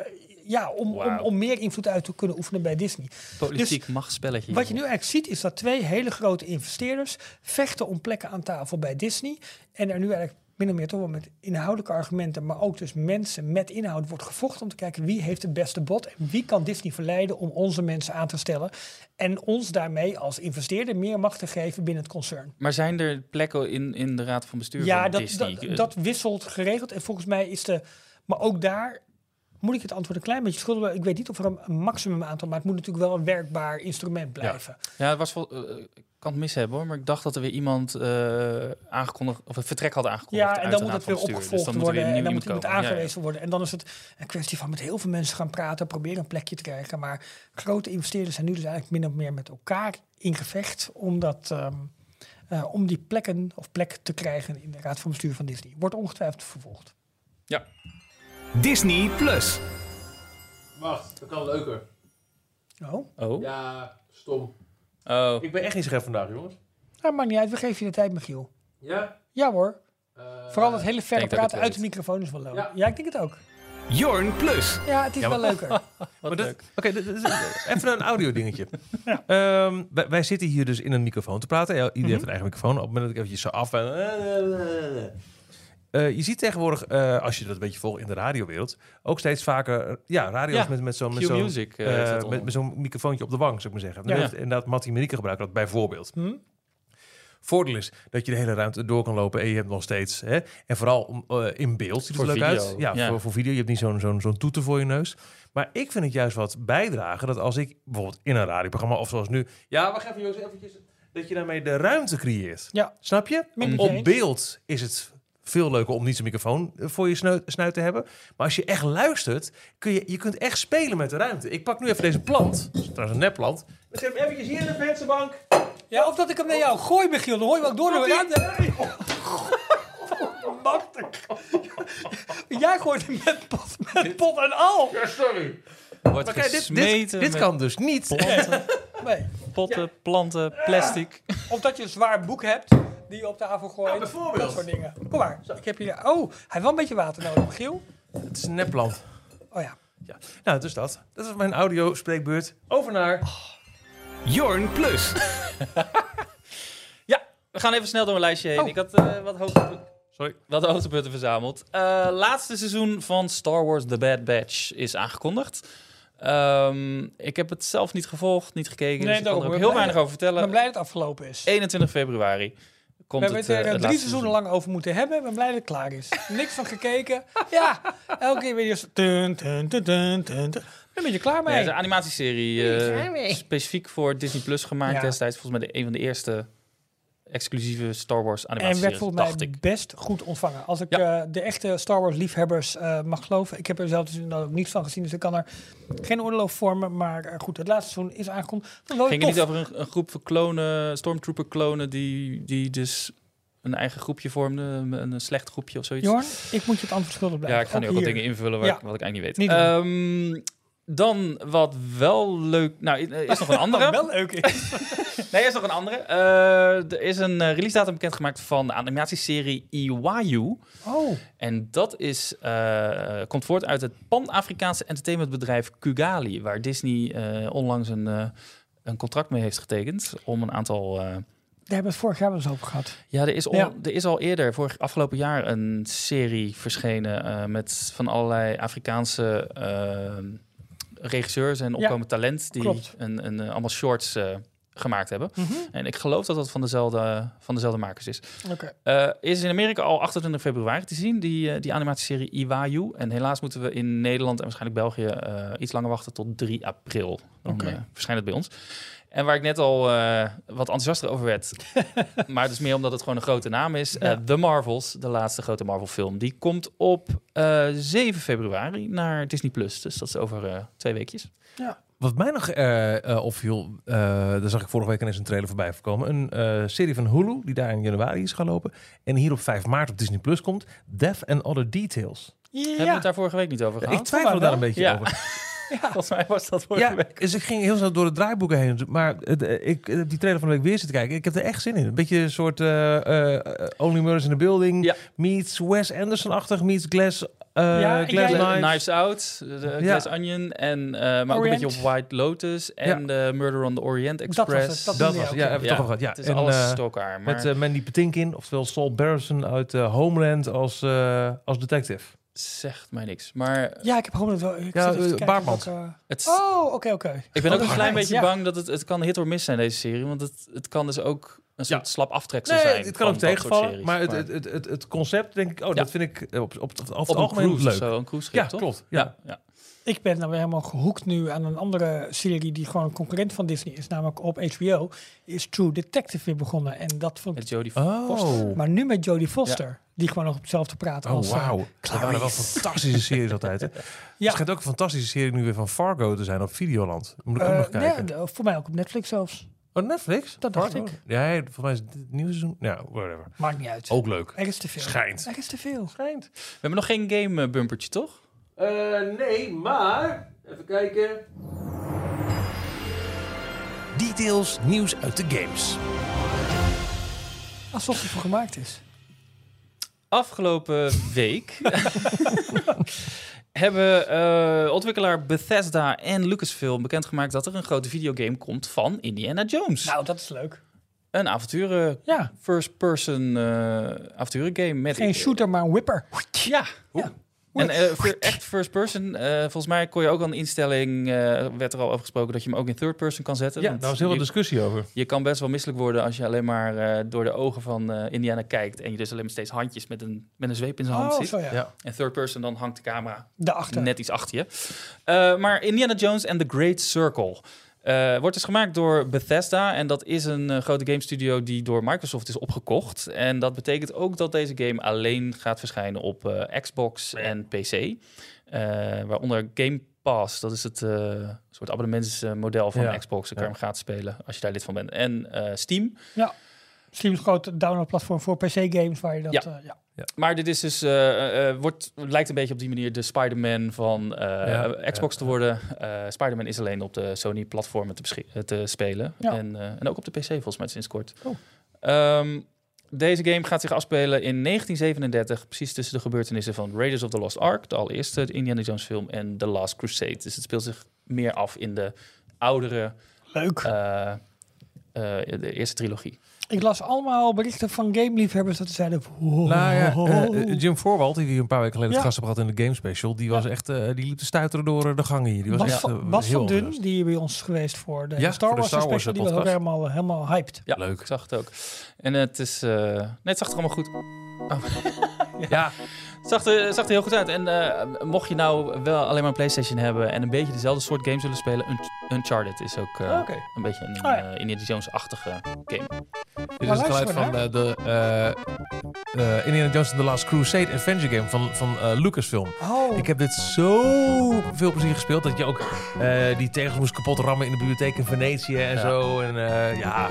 ja, om, om,
Wauw.
om meer invloed uit te kunnen oefenen bij Disney.
Politiek machtspelletje.
Dus Wat je nu eigenlijk ziet is dat twee hele grote investeerders vechten om plekken aan tafel bij Disney. En er nu eigenlijk min of meer toch wel met inhoudelijke argumenten, maar ook dus mensen met inhoud wordt gevochten om te kijken wie heeft het beste bod en wie kan Disney verleiden om onze mensen aan te stellen en ons daarmee als investeerder meer macht te geven binnen het concern.
Maar zijn er plekken in, in de raad van bestuur
Ja,
van
dat,
Disney? dus.
dat, dat wisselt geregeld. En volgens mij is de. Maar ook daar moet ik het antwoord een klein beetje schuldig. blijven. Ik weet niet of er een, een maximum aantal, maar het moet natuurlijk wel een werkbaar instrument blijven.
Ja, het was vol, eh, ik kan het mis hebben hoor, maar ik dacht dat er weer iemand eh, aangekondigd of het vertrek had aangekondigd.
Ja, en
uit
dan
de
moet
raad
het
van
weer
bestuur.
opgevolgd
dus dan
worden
Moet er
en
weer
dan moet
nieuw iemand
iemand
komen. Ja, ja.
aangewezen worden. En dan is het een kwestie van met heel veel mensen gaan praten, proberen een plekje te krijgen. Maar grote investeerders zijn nu dus eigenlijk min of meer met elkaar in gevecht om, dat, ehm, eh, om die plekken of plek te krijgen in de raad van bestuur van Disney. Wordt ongetwijfeld vervolgd.
Disney Plus.
Wacht, dat kan leuker.
Oh,
Oh,
Ja, stom.
oh.
Ik ben echt niet scherp vandaag, jongens.
nou, maakt niet uit, we geven je de tijd, Michiel.
Ja?
Ja hoor. Vooral dat hele
denk
verre
dat Eh, ik
praten
het
uit de
weet.
microfoon is wel leuk. Ja.
Ja.
ik denk het ook.
Jorn Plus.
Ja, het is
Ja,
wel
maar-
leuker.
Maar dat- Oké, dit is- even een audio dingetje. Ehm, wij, wij zitten hier dus in een microfoon te praten. Ja, Iedereen
Mhm.
heeft een eigen microfoon. Op het moment dat ik eventjes zo af ben... Eh, je ziet tegenwoordig, eh, als je dat een beetje volgt in de radiowereld, ook steeds vaker eh, ja, radio's
Ja,
met, met zo'n met
Q
zo'n,
Music, eh,
eh,
heeft dat
met,
onder.
met zo'n microfoontje op de wang, zou ik maar zeggen. En
Ja. Mhm.
dat- Inderdaad, Mattie en Marieke gebruiken dat bijvoorbeeld. Voordeel is dat je de hele ruimte door kan lopen en je hebt nog steeds. Hè, en vooral om, eh, in beeld ziet het
Voor
er leuk
video.
uit. Ja,
Ja.
Voor, voor video. Je hebt niet zo'n zo'n zo'n toeter voor je neus. Maar ik vind het juist wat bijdragen dat als ik bijvoorbeeld in een radioprogramma of zoals nu. Ja, wacht even, jongens, eventjes. Dat je daarmee de ruimte creëert.
Ja.
Snap je?
Ben ik met je
Op
eens.
beeld is het veel leuker om niet zo'n microfoon eh, voor je sneu- snuit te hebben. Maar als je echt luistert, kun je, je kunt echt spelen met de ruimte. Ik pak nu even deze plant. Dat is trouwens een nepplant. We zetten hem eventjes hier in de vensterbank.
Ja, of dat ik hem naar jou gooi, Michiel. Dan hoor je hem ook door de ruimte. Machtig. Jij gooit hem met pot, met pot en al.
Maar
Wordt
kijk, dit, dit,
gesmeten
dit
met
kan dus niet.
Nee.
potten, planten, plastic.
Of dat je een zwaar boek hebt die je op tafel gooit.
Ja, bijvoorbeeld.
Dat soort dingen. Kom maar. Ik heb hier... Oh, hij heeft wel een beetje water nodig, Michiel.
Het is een nepplant.
Oh ja.
Ja. Nou, dus dat. Dat is mijn audio-spreekbeurt. Over naar...
Jorn Plus.
Ja, we gaan even snel door mijn lijstje
Oh.
heen. Ik had eh, wat, hoogtepunten,
Sorry.
wat hoogtepunten verzameld. Eh, laatste seizoen van Star Wars The Bad Batch is aangekondigd. Ehm, ik heb het zelf niet gevolgd, niet gekeken.
Nee,
dus ik kan
daarom.
er ook
Ik
heel
ben blij-
weinig over
Ik ben
vertellen.
blij dat het afgelopen is.
21 februari
We
komt
hebben
het,
het
eh,
er eh,
het
drie
laatste
seizoenen lang over moeten hebben. Ik ben blij dat het klaar is. Niks van gekeken. Ja, elke keer weer zo... Dun, dun, dun, dun, dun, dun. Dan ben je klaar
Ja,
mee.
het is een animatieserie eh, specifiek voor Disney Plus gemaakt
Ja.
destijds. Volgens mij de, een van de eerste exclusieve Star Wars
en werd
animatieseries,
volgens
dacht
mij
ik.
best goed ontvangen. Als ik eh, de echte Star Wars liefhebbers eh, mag geloven. Ik heb er zelf dus inderdaad ook niets van gezien. Dus ik kan er geen oordeel over vormen. Maar eh, goed, het laatste seizoen is aangekondigd. Dat was wel
Ging
Oh, tof.
het niet over een, een groep van klonen, stormtrooper klonen, die, die dus een eigen groepje vormden, een, een slecht groepje of zoiets?
Jorn, ik moet je het antwoord schuldig blijven.
ja, ik ga nu ook wat
hier.
dingen invullen waar
Ja.
ik, wat ik eigenlijk niet
Niet
weet.
doen.
Ehm, dan wat wel leuk... Nou, i- eh, is nog een andere.
Wat wel leuk is.
Nee, er is nog een andere. Eh, er is een eh, release datum bekendgemaakt van de animatieserie Iwayu.
Oh,
En dat is, eh, komt voort uit het Pan-Afrikaanse entertainmentbedrijf Kugali, waar Disney eh, onlangs een, eh, een contract mee heeft getekend om een aantal. eh,
daar hebben we het vorig jaar wel eens over gehad.
ja, er is, on-
Ja.
er is al eerder, vorig afgelopen jaar, een serie verschenen eh, met van allerlei Afrikaanse eh, regisseurs en opkomend talent die
klopt. Mhm.
een, een, eh, allemaal shorts eh, gemaakt hebben. En ik geloof dat dat van dezelfde, van dezelfde makers is.
Oké.
Eh, is in Amerika al 28 februari te zien, die, eh, die animatieserie Iwayu. En helaas moeten we in Nederland en waarschijnlijk België eh, iets langer wachten tot 3 april. Dan
Oké.
eh, verschijnt het bij ons. En waar ik net al eh, wat enthousiaster over werd, maar het is meer omdat het gewoon een grote naam is. eh, The Marvels, de laatste grote Marvel film, die komt op eh, 7 februari naar Disney+. Plus. Dus dat is over eh, twee weekjes.
Wat mij nog eh, eh, opviel, eh, daar zag ik vorige week ineens een trailer voorbij voorkomen. Een eh, serie van Hulu, die daar in januari is gaan lopen. En hier op 5 maart op Disney Plus komt. Death and Other Details.
Hebben we het daar vorige week niet over
ik
gehad?
twijfelde daar een beetje
Oh, Ja.
over.
Volgens mij was dat vorige
Ja,
week.
dus ik ging heel snel door de draaiboeken heen. Maar het, eh, ik heb die trailer van de week weer zitten kijken. Ik heb er echt zin in. Een beetje een soort eh, eh, Only Murders in the Building.
Ja.
Meets Wes Anderson-achtig. Meets Glass, eh
Ja, ik-
Glass
ja,
Knives.
Knives, Out, de, de Glass Onion, en, eh, maar ook een
Orient.
beetje op White Lotus en eh, Murder on the Orient
was het,
Express.
dat
Dat
Ja,
was,
oké.
ja, hebben we
Ja,
toch al gehad. Ja.
Het is
En,
alles
eh,
door elkaar. Maar
Met eh, Mandy Patinkin, oftewel Saul Barrison uit eh, Homeland als, eh, als detective.
zegt mij niks. Maar
Ja, ik heb gewoon het wel... Ik
Ja,
zat even
eh,
te kijken
Baarmans.
welke-
het,
Oh, oké, oké.
ik ben
Oh,
ook een
dat
klein
is-
beetje
ja.
bang dat het, het kan hit or miss zijn, deze serie. Want het, het kan dus ook een soort slap aftreksel
Nee,
zijn.
het kan ook
van dat soort
tegenvallen.
series.
Maar het, het, het, het, het concept, denk ik, oh, dat vind ik eh, op, op, op,
op
het
een
algemeen
cruise of
leuk.
zo, een cruiseschip,
ja,
toch?
klopt. Ja.
ja.
Ik ben nou weer helemaal gehoekt nu aan een andere serie die gewoon een concurrent van Disney is. Namelijk op HBO is True Detective weer begonnen. En dat vond ik...
Met Jodie
Oh,
Maar nu met Jodie Foster. Die gewoon nog op hetzelfde praat als...
oh
eh,
wauw. Dat waren wel fantastische series altijd. Hè. Het schijnt ook een fantastische serie nu weer van Fargo te zijn op Videoland. Moet ik ook
eh,
nog kijken.
nee, voor mij ook op Netflix zelfs.
Oh, Netflix?
Dat dacht
Fargo?
ik.
Ja, ja, volgens mij is het het nieuwe seizoen. Ja, whatever.
Maakt niet uit.
Ook leuk.
Er is te veel.
Schijnt.
Er is te veel.
Schijnt.
We hebben nog geen game eh, bumpertje, toch?
Eh, nee, maar... Even kijken. Details, nieuws uit de games.
Alsof het voor gemaakt is.
Afgelopen week hebben eh, ontwikkelaar Bethesda en Lucasfilm bekendgemaakt dat er een grote videogame komt van Indiana Jones.
Nou, dat is leuk.
Een avonturen,
Ja.
first-person eh avonturen game met
Geen shooter, maar een whipper.
Ja. ja. En eh, voor echt first person, eh, volgens mij kon je ook al een instelling, eh, werd er al over gesproken, dat je hem ook in third person kan zetten.
Ja,
want
daar was heel dus-
je-
veel discussie over.
Je kan best wel misselijk worden als je alleen maar eh, door de ogen van eh, Indiana kijkt en je dus alleen maar steeds handjes met een, met een zweep in zijn hand
Oh,
ziet.
zo ja.
Ja.
En third person, dan hangt de camera
Daarachter.
net iets achter je. Eh, maar Indiana Jones and the Great Circle eh, wordt dus gemaakt door Bethesda. En dat is een eh, grote game studio die door Microsoft is opgekocht. En dat betekent ook dat deze game alleen gaat verschijnen op eh, Xbox en PC. Eh, waaronder Game Pass, dat is het eh, soort abonnementsmodel van
Ja.
Xbox. Dan kan
Ja.
je hem gratis spelen als je daar lid van bent. En eh, Steam.
Ja. Steam is een groot downloadplatform voor PC-games waar je dat...
Ja.
eh, ja.
Maar dit is dus, eh, eh, wordt, lijkt een beetje op die manier de Spider-Man van eh,
Ja,
Xbox te worden. Eh, Spider-Man is alleen op de Sony-platformen te, beschik- eh, te spelen.
Ja.
Oh.
En, eh, en ook op de PC volgens mij sinds kort.
Oh.
Ehm, Deze game gaat zich afspelen in 1937, precies tussen de gebeurtenissen van Raiders of the Lost Ark, de allereerste Indiana Jones film, en The Last Crusade. Dus het speelt zich meer af in de oudere,
Leuk.
eh, eh, de eerste trilogie.
ik las allemaal berichten van gameliefhebbers dat ze zeiden... wow.
Nou ja, eh, eh, Jim Voorwald, die hier een paar weken geleden
Oh. Ja.
het gast op had in de Game Special, die, was echt, eh, die liep te stuiteren door eh, de gangen hier. Die was,
Bas,
echt, eh,
van, Bas
heel
van Dun,
enthousiast.
die bij ons is geweest voor de
Ja, voor
Star
de
Wars
Star Wars
special, die was ook
podcast.
helemaal, eh, helemaal hyped.
Ja,
Leuk.
Ik zag het ook. En het is. eh net zag het er allemaal goed. Oh.
Ja,
Zag er, zag er heel goed uit. En eh, mocht je nou wel alleen maar een PlayStation hebben en een beetje dezelfde soort games willen spelen, Unt- Uncharted is ook eh,
Oké.
een beetje
Oh,
een
Ah, ja.
eh, Indiana Jones-achtige game.
dit
Maar
is het geluid
luister maar
van eh, de eh, eh, Indiana Jones and the Last Crusade Adventure Game van, van eh, Lucasfilm.
Oh,
Ik heb dit zo veel plezier gespeeld dat je ook eh, die tegels moest kapot rammen in de bibliotheek in Venetië en
Ja.
zo. En eh, ja,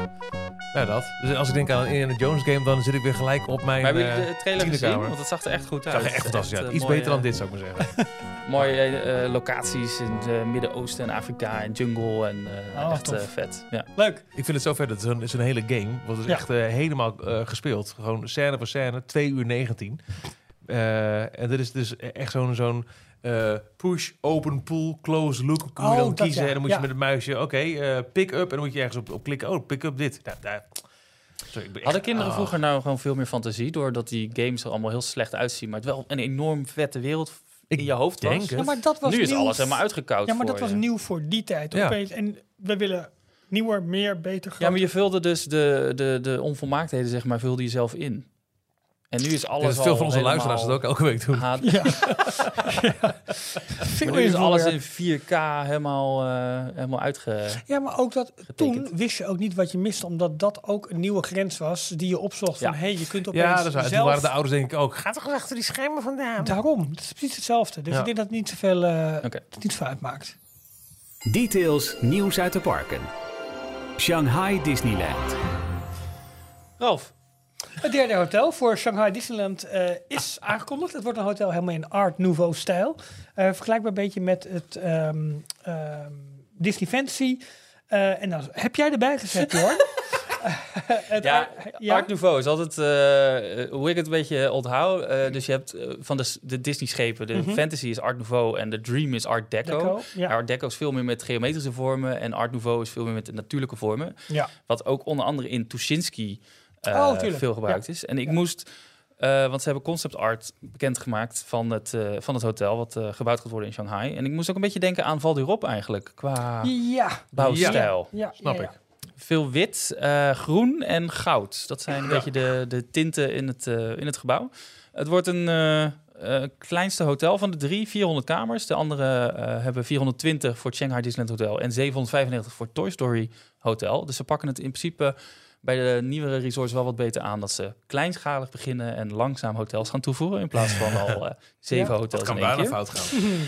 nou dat. Dus als ik denk aan een Indiana Jones game, dan zit ik weer gelijk op mijn
Maar hebben
eh,
jullie de trailer gezien?
tienerkamer.
Want het zag er echt goed
Het
uit.
zag er echt fantastisch uit.
eh,
Iets
mooie-
beter dan dit, zou ik maar zeggen.
Mooie eh, locaties in het Midden-Oosten en Afrika en jungle en eh,
Oh,
echt
tof.
eh, vet. Ja.
leuk.
ik vind het zo vet. Het is een, het is een hele game. Want het is
Ja.
echt eh, helemaal eh, gespeeld. Gewoon scène voor scène. 2 uur 19. Eh, en dit is dus echt zo'n zo'n eh, push, open, pull, close look. Kun je
Oh,
dan
dat
kiezen.
ja.
En dan moet je
Ja.
met het muisje, oké, eh, pick up. En dan moet je ergens op, op klikken. Oh, pick up dit. Nou, daar. Sorry, ik ben echt-
Hadden kinderen
oh.
vroeger nou gewoon veel meer fantasie, doordat die games er allemaal heel slecht uitzien, maar het wel een enorm vette wereld in
Ik
je hoofd
denk
was?
het.
Ja, maar dat was
nu is
nieuw
alles helemaal uitgekoud
Ja, maar
voor
dat was
je.
nieuw voor die tijd.
Ja.
Opeens. En we willen nieuwer, meer, beter,
Ja, maar
groter.
je vulde dus de, de, de onvolmaaktheden, zeg maar, vulde je zelf in. En nu is
Ik
alles
denk dat veel
al
van onze
helemaal
luisteraars dat ook elke week doen.
haat-
Veel
Maar nu is
invoer.
alles in 4K helemaal, eh, helemaal uitge...
Ja, maar ook dat
Getekend.
toen wist je ook niet wat je miste, omdat dat ook een nieuwe grens was die je opzocht. Van
Ja.
hé, je kunt opeens
Ja, dat is waar. En Toen
zelf...
waren de ouders denk ik ook. Ga toch eens achter die schermen vandaan.
Daarom, het is precies hetzelfde. Dus
Ja.
ik denk dat het niet zoveel, eh,
Oké.
dat het niet zoveel uitmaakt.
Details nieuws uit de parken. Shanghai Disneyland.
Ralf,
Het derde hotel voor Shanghai Disneyland eh, is aangekondigd. Het wordt een hotel helemaal in Art Nouveau stijl. Eh, vergelijkbaar een beetje met het ehm, ehm, Disney Fantasy. Eh, en dan heb jij erbij gezet, Jorn? Eh, het
ja,
Ar-
Art Nouveau is altijd, eh, eh, hoe ik het een beetje onthoud, eh, dus je hebt eh, van de, s- de Disney-schepen, de fantasy is Art Nouveau en de dream is Art Deco.
Mhm. Deco, ja.
Art Deco is veel meer met geometrische vormen en Art Nouveau is veel meer met de natuurlijke vormen.
ja.
Wat ook onder andere in Tuschinski eh,
Oh, tuurlijk.
veel gebruikt is. En ik moest, eh, want ze hebben concept art bekendgemaakt van het, eh, van het hotel, wat eh, gebouwd gaat worden in Shanghai. En ik moest ook een beetje denken aan Val d'Europe eigenlijk, qua
Ja.
bouwstijl.
ja,
Snap
ja, ja.
ik.
Veel wit, eh, groen en goud. Dat zijn een beetje de, de tinten in het, eh, in het gebouw. Het wordt een eh, eh, kleinste hotel van de drie, 400 kamers. De andere eh, hebben 420 voor het Shanghai Disneyland Hotel en 795 voor het Toy Story Hotel. Dus ze pakken het in principe bij de nieuwere resorts wel wat beter aan dat ze kleinschalig beginnen en langzaam hotels gaan toevoegen in plaats van al eh, zeven
Ja.
hotels
Dat kan
in één
bijna
keer.
fout gaan.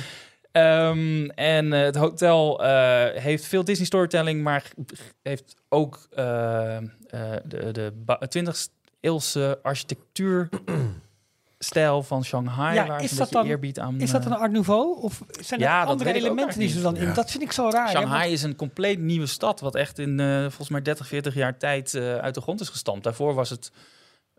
Ehm, en eh, het hotel eh, heeft veel Disney storytelling, maar g- g- heeft ook eh, eh, de, de 20 eeuwse architectuurstijl van Shanghai.
Ja,
waar
is
ze een
dat
beetje
dan-
eerbied aan.
Is dat
eh,
een Art Nouveau? Of zijn er
Ja, dat
andere
weet ik ook
elementen die ze dan
eigenlijk
in? Dat vind ik zo raar. hè,
Shanghai is een compleet nieuwe stad, wat echt in eh, volgens mij 30, 40 jaar tijd eh, uit de grond is gestampt. Daarvoor was het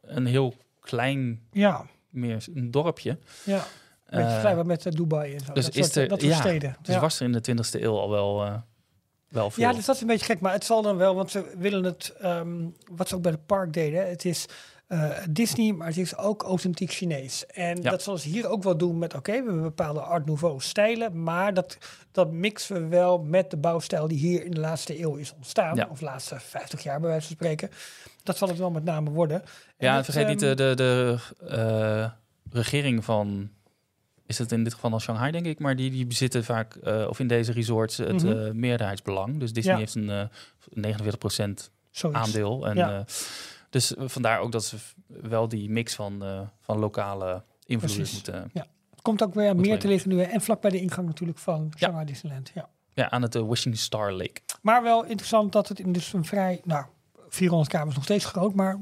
een heel klein,
want- Ja,
meer een dorpje.
ja. Een beetje
Eh,
vergelijkbaar met eh, Dubai en zo.
dus
dat
is
soort,
er-
dat soort
ja,
steden.
dus
Ja.
was er in de 20e eeuw al wel, eh, wel veel.
Ja, dus dat is een beetje gek. Maar het zal dan wel, want ze willen het, ehm, wat ze ook bij de park deden, het is eh, Disney, maar het is ook authentiek Chinees. En
Ja.
dat zullen ze hier ook wel doen met, oké, we hebben bepaalde Art Nouveau stijlen, maar dat, dat mixen we wel met de bouwstijl die hier in de laatste eeuw is ontstaan,
Ja.
of laatste 50 jaar bij wijze van spreken. Dat zal het wel met name worden. En
Ja, en
dat,
vergeet niet
ehm,
de, de, de eh, regering van. Is het in dit geval dan Shanghai, denk ik? Maar die, die bezitten vaak, eh, of in deze resorts, het
Mhm.
eh, meerderheidsbelang. Dus Disney
Ja.
heeft een eh 49%
zoiets.
aandeel. En,
Ja.
eh, dus vandaar ook dat ze v- wel die mix van, eh, van lokale invloeders
Precies.
moeten. eh,
Het komt ook weer meer
meenemen.
te liggen nu. hè, En vlak bij de ingang natuurlijk van Shanghai Disneyland. Ja.
Ja, aan het eh, Wishing Star Lake.
Maar wel interessant dat het in dus een vrij, nou, 400 kamers nog steeds groot, maar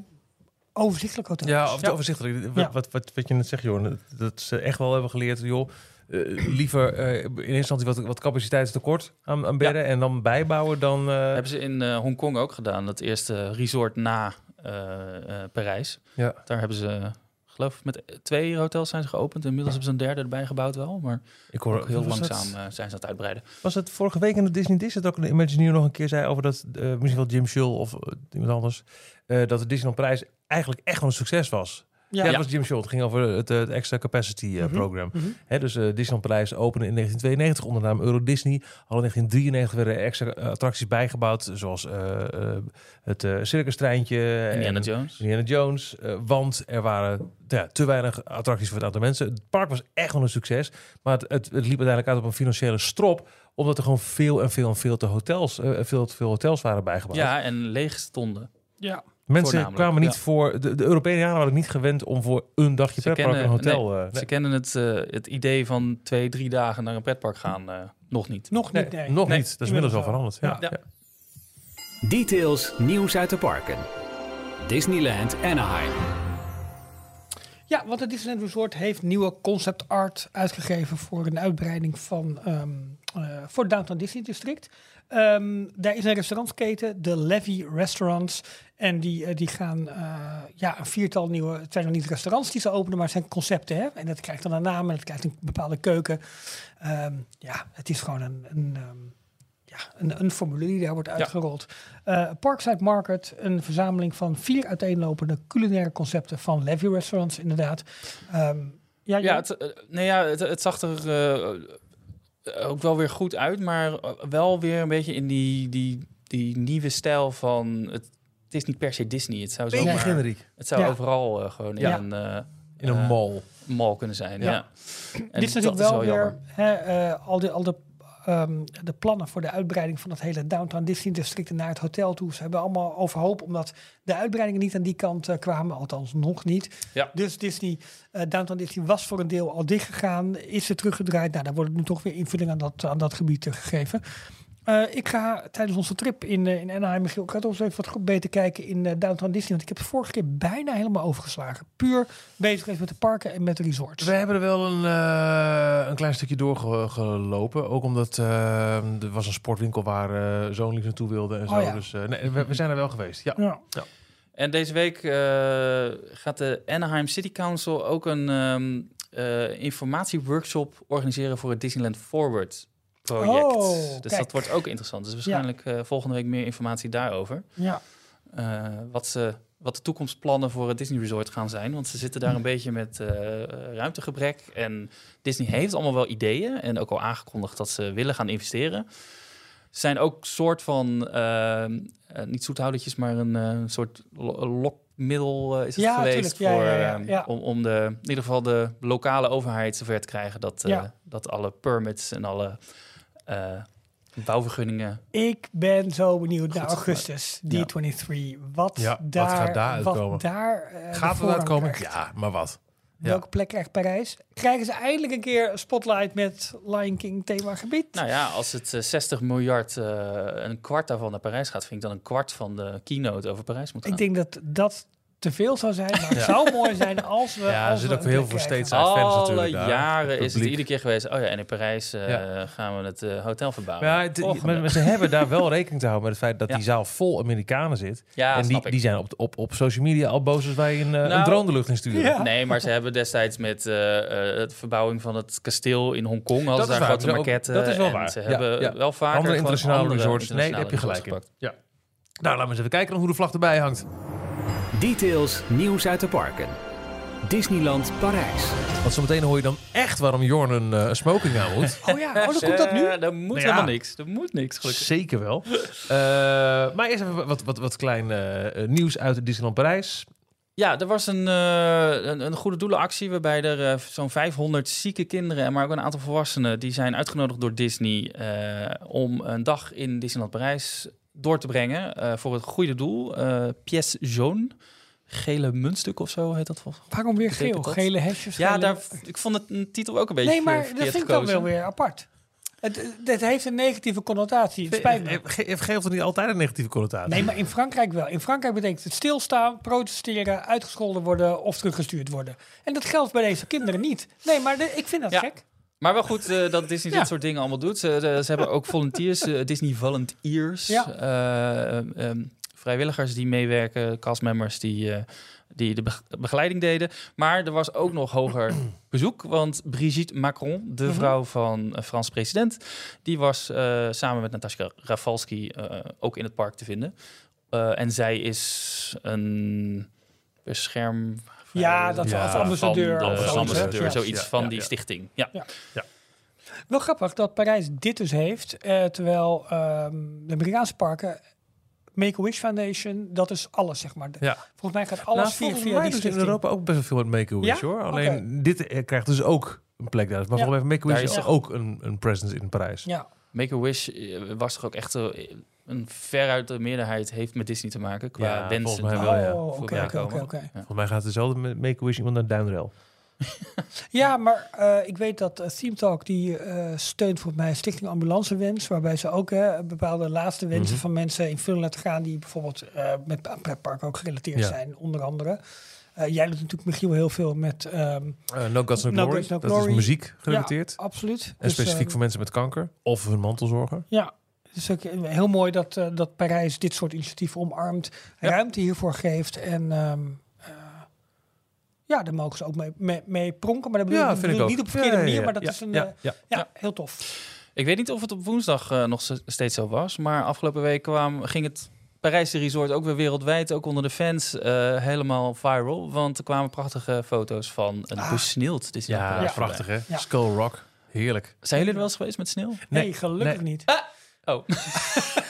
overzichtelijk hotel.
Ja,
is.
of het overzichtelijk. Wat,
Ja.
wat, wat, wat je net zegt, joh, dat ze echt wel hebben geleerd, joh. eh, liever eh, in eerste instantie wat, wat capaciteitstekort aan, aan bedden en dan bijbouwen dan... eh,
Hebben ze in eh, Hongkong ook gedaan, dat eerste resort na eh, eh, Parijs.
Ja.
Daar hebben ze, eh, geloof ik, met twee hotels zijn ze geopend. Inmiddels hebben ze een derde erbij gebouwd wel, maar
Ik hoor
ook heel
was dat-
langzaam eh, zijn ze aan het uitbreiden.
was het vorige week in de Disney Disney dat ook een Imagineer nog een keer zei over dat eh, misschien wel Jim Schull of eh, iemand anders eh, dat de Disneyland Parijs eigenlijk echt wel een succes was. Ja, dat
Ja. Mhm.
was Jim Schull. Het ging over het, eh, het extra capacity eh, program. Hè, dus eh Disneyland Parijs opende in 1992 onder de naam Euro Disney. Al in 1993 werden er extra eh, attracties bijgebouwd, zoals eh, eh, het eh circus treintje.
Indiana
en-
Jones.
Indiana Jones. eh, want er waren ja, te weinig attracties voor het aantal mensen. Het park was echt wel een succes. Maar het, het, het liep uiteindelijk uit op een financiële strop. Omdat er gewoon veel en veel en veel te hotels, eh, veel, te veel hotels waren bijgebouwd.
Ja, en leeg stonden.
Ja.
Mensen
voornamelijk,
kwamen niet
ja.
voor... De, de Europeanen waren niet gewend om voor een dagje
Ze
pretpark een
kennen-
hotel...
nee,
eh,
Ze kennen het, eh, het idee van twee, drie dagen naar een pretpark gaan eh, nog niet.
Nog
nee,
niet, nee.
nog
Nee.
niet. Dat is inmiddels al veranderd. Ja.
Ja.
ja.
Details nieuws uit de parken. Disneyland Anaheim.
Ja, want het Disneyland Resort heeft nieuwe concept art uitgegeven voor een uitbreiding van ehm, eh, voor het Downtown Disney District. Ehm, daar is een restaurantketen, de Levy Restaurants. En die, eh, die gaan eh, ja, een viertal nieuwe. Het zijn nog niet restaurants die ze openen, maar het zijn concepten. Hè? En dat krijgt dan een naam en dat krijgt een bepaalde keuken. Ehm, ja, het is gewoon een. een ehm, ja, een, een formulier die daar wordt uitgerold. Eh, Parkside Market, een verzameling van vier uiteenlopende culinaire concepten van Levy Restaurants, inderdaad. Ehm,
Ja,
ja, ja,
het, eh, nee, ja, het, het zag er eh, ook wel weer goed uit, maar eh, wel weer een beetje in die, die, die nieuwe stijl van... Het, het is niet per se Disney, het zou,
Beetje
zomaar,
generiek.
het zou
Ja.
overal eh, gewoon
Ja.
in een eh,
In een
eh,
mall.
mall kunnen zijn.
Ja.
Ja. En
dit is
dat
natuurlijk wel,
jammer.
weer hè, eh, al, die, al de, ehm, de plannen voor de uitbreiding van het hele Downtown Disney District en naar het hotel toe. Ze hebben allemaal overhoop omdat de uitbreidingen niet aan die kant eh, kwamen, althans nog niet.
Ja.
Dus Disney, eh, Downtown Disney was voor een deel al dichtgegaan, is ze teruggedraaid. Nou, daar wordt nu toch weer invulling aan dat, aan dat gebied eh, gegeven. Eh, ik ga tijdens onze trip in, eh, in Anaheim, Michiel, ik ga toch eens even wat goed beter kijken in eh, Downtown Disney. Want ik heb het vorige keer bijna helemaal overgeslagen. Puur bezig geweest met de parken en met de resorts.
We hebben er wel een, eh, een klein stukje doorgelopen. Ook omdat eh, er was een sportwinkel waar eh, zo'n liefst naartoe wilde en zo.
Oh ja.
Dus eh, nee, we, we zijn er wel geweest. Ja.
Ja.
En deze week eh, gaat de Anaheim City Council ook een ehm, eh, informatieworkshop organiseren voor het Disneyland Forward project.
Oh,
dus
kijk.
dat wordt ook interessant. Dus waarschijnlijk eh, volgende week meer informatie daarover.
Ja.
Eh, wat, ze, wat de toekomstplannen voor het Disney Resort gaan zijn. Want ze zitten daar
Hm.
een beetje met eh, ruimtegebrek. En Disney heeft allemaal wel ideeën. En ook al aangekondigd dat ze willen gaan investeren. Ze zijn ook soort van, eh, eh, niet zoethoudertjes, maar een eh, soort lo- lokmiddel eh, is het
Ja,
geweest.
tuurlijk. Ja,
voor,
ja, ja,
eh,
ja.
Om, om de, in ieder geval de lokale overheid zover te krijgen dat, eh,
Ja.
dat alle permits en alle eh, bouwvergunningen
Ik ben zo benieuwd naar
Goed,
augustus,
ja.
D23. Wat,
Ja, wat
daar,
gaat daar
wat
uitkomen?
daar, eh, de
Gaat het
voorrang
uitkomen?
krijgt.
Ja, maar wat? ja.
Welke plek krijgt Parijs? Krijgen ze eindelijk een keer een spotlight met Lion King themagebied?
Nou ja, als het eh, 60 miljard, eh, een kwart daarvan naar Parijs gaat, vind ik dan een kwart van de keynote over Parijs moet gaan.
ik denk dat dat te veel zou zijn, maar het zou mooi zijn als we.
Ja, er
als
zit
we
ook
een
heel
plek
veel
krijgen.
steeds uit fans
alle
natuurlijk. daar,
jaren is het
publiek.
iedere keer geweest. Oh ja, en in Parijs eh,
Ja.
gaan we het eh, hotel verbouwen.
Maar, het-
Och,
maar
gelukkig.
ze hebben daar wel rekening te houden met het feit dat
Ja.
die zaal vol Amerikanen zit.
Ja,
en
snap
die,
ik.
die zijn op, op, op social media al boos als wij een, eh, een
Nou,
drone de lucht in sturen.
Ja.
Nee, maar ze hebben destijds met eh, eh, de verbouwing van het kasteel in Hongkong hadden ze
is waar,
daar grote
ze ook-
maquetten.
dat is wel
en
waar.
Ze
Ja,
hebben
ja.
wel vaker
Andere
gewoon
internationale
andere
resorts. Nee, daar
internationale
heb je gelijk in.
resorts gepakt.
Ja. Nou, laten we eens even kijken hoe de vlag erbij hangt.
Details nieuws uit de parken. Disneyland Parijs.
Want zometeen hoor je dan echt waarom Jorn een eh, smoking aan moet.
Oh ja, oh, dan komt dat nu.
Eh, er moet
ja.
helemaal niks. Er moet niks, gelukkig.
Zeker wel. Eh, maar eerst even wat, wat, wat klein eh, nieuws uit Disneyland Parijs.
Ja, er was een, eh, een, een goede doelenactie waarbij er eh, zo'n 500 zieke kinderen, en maar ook een aantal volwassenen, die zijn uitgenodigd door Disney eh, om een dag in Disneyland Parijs door te brengen eh, voor het goede doel. eh Pièce jaune, gele muntstuk of zo heet dat volgens mij.
Waarom weer
Betekent
geel?
dat?
Gele hesjes.
Ja,
gele-
daar, ik vond het een titel ook een beetje
Nee, maar
verkeerd
dat vind ik dan
gekozen.
wel weer apart. Het, het heeft een negatieve connotatie. Het spijt me.
Ge- Eh, ge- Geeft er niet altijd een negatieve connotatie?
Nee, maar in Frankrijk wel. In Frankrijk betekent het stilstaan, protesteren, uitgescholden worden of teruggestuurd worden. En dat geldt bij deze kinderen niet. Nee, maar de- ik vind dat
Ja.
gek.
Maar wel goed eh, dat Disney
Ja.
dit soort dingen allemaal doet. Ze, ze- ze hebben ook volunteers, eh, Disney Volunteers.
Ja.
eh, ehm, vrijwilligers die meewerken, castmembers die, eh, die de beg- begeleiding deden. Maar er was ook nog hoger bezoek, want Brigitte Macron, de vrouw van eh, Frans president, die was eh, samen met Natasja Rafalski eh, ook in het park te vinden. Eh, en zij is een bescherm...
Ja, dat- of ambassadeur,
Van de-
of zoiets,
ambassadeur,
hè?
zoiets
Ja.
van
Ja,
die
ja.
stichting. Ja.
Ja. Wel grappig dat Parijs dit dus heeft, eh, terwijl ehm, de Amerikaanse parken, Make-A-Wish Foundation, dat is alles, zeg maar. De-
Ja.
Volgens mij gaat alles
nou,
via,
volgens
via
mij
die
doen ze in
stichting.
Europa ook best wel veel met Make-A-Wish
Ja?
hoor. Alleen dit eh, krijgt dus ook een plek daar. Maar
Ja.
volgens mij heeft
Daar
Make-A-Wish
is-
is er ook een, een presence in Parijs.
Ja,
Make-A-Wish eh, was toch ook echt eh, een veruit de meerderheid heeft met Disney te maken qua
Ja,
wensen.
volgens mij
die
wel, ja.
Oh, oké,
voorbij
oké, oké,
komen.
oké.
Ja.
Volgens mij gaat dezelfde met Make-A-Wish iemand naar Duinrel.
Ja, maar eh, ik weet dat eh, Theme Talk die eh, steunt volgens mij Stichting Ambulancewens, waarbij ze ook eh, bepaalde laatste wensen
Mhm.
van mensen invullen laten gaan die bijvoorbeeld eh, met aan pretpark ook gerelateerd
Ja.
zijn, onder andere. Eh, jij doet natuurlijk Michiel heel veel met ehm,
Eh, no Gods No
No
Glory.
Gods, No
dat is
Glory.
muziek gerelateerd.
Ja, absoluut.
En
Dus,
specifiek
eh,
voor mensen met kanker. Of hun mantelzorger.
Ja, het is ook heel mooi dat, eh, dat Parijs dit soort initiatieven omarmt, ruimte hiervoor geeft en ehm, eh, ja, daar mogen ze ook mee, mee, mee pronken, maar dat bedoel,
Ja,
dat
vind ik
bedoel
ook.
niet op verkeerde
Ja, ja, ja.
manier, maar dat
Ja,
is een
ja,
eh,
ja.
ja, heel tof.
Ik weet niet of het op woensdag eh, nog s- steeds zo was, maar afgelopen week kwam, ging het Parijse resort ook weer wereldwijd, ook onder de fans, eh, helemaal viral. Want er kwamen prachtige foto's van een
Ah.
besneeuwd Disney.
Ja,
Parijs
prachtig hè.
Ja.
Skull Rock. Heerlijk.
Zijn jullie er wel eens geweest met sneeuw?
Nee,
Nee,
gelukkig
nee.
niet.
Oh.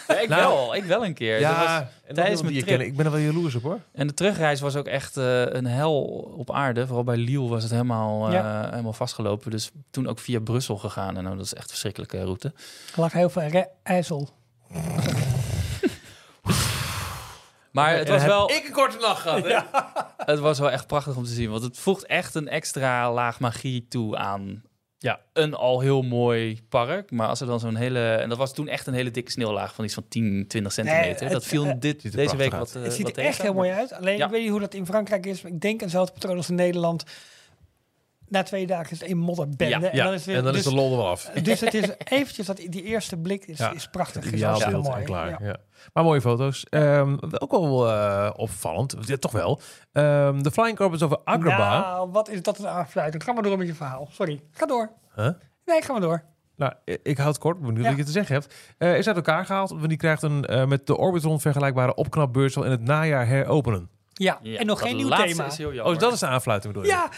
Ja, ik
Nou.
wel, ik wel een keer. Er was-
en
tijdens
dat wil
mijn
je
trip.
kennen. Ik ben er wel jaloers op hoor.
en de terugreis was ook echt eh, een hel op aarde. Vooral bij Lille was het helemaal, eh, helemaal vastgelopen. Dus toen ook via Brussel gegaan. En nou, dat is echt een verschrikkelijke route.
Er lag heel veel re- ijzel.
Maar het was wel...
Ik een korte nacht gehad.
Het was wel echt prachtig om te zien, want het voegt echt een extra laag magie toe aan ja, een al heel mooi park. Maar als er dan zo'n hele, en dat was toen echt een hele dikke sneeuwlaag van iets van 10, 20 centimeter.
het-
dat viel
eh,
dit,
ziet er
deze week
prachtig
wat. eh,
het ziet
wat
er echt
tegen,
heel
maar-
mooi uit. Alleen
Ja.
ik weet niet hoe dat in Frankrijk is, maar ik denk eenzelfde patroon als in Nederland. Na twee dagen is het een modderbende.
Ja,
Ja,
en dan is het weer, dus,
de lol er wel af.
dus het is eventjes dat die eerste blik is,
Ja,
is prachtig. Is
Ideaal
hartstikke
beeld en
mooi.
klaar.
Ja.
Ja. Maar mooie foto's. Ehm, ook wel eh, opvallend. Ja, toch wel. Ehm, de Flying Carpets over Agrabah.
Nou, wat is dat een aanfluiting. Ga maar door met je verhaal. Sorry. Ga door.
Huh?
Nee, ga maar door.
Nou, ik- ik houd het kort. Ik ben benieuwd
Ja.
wat je te zeggen hebt. Eh, is uit elkaar gehaald. Want die krijgt een eh, met de Orbitron vergelijkbare opknapbeurs zal in het najaar heropenen.
Ja,
Ja,
en nog
dat
geen nieuw
laatste
thema.
Is heel jammer.
Oh, dat is de aanfluiting bedoel je?
Ja,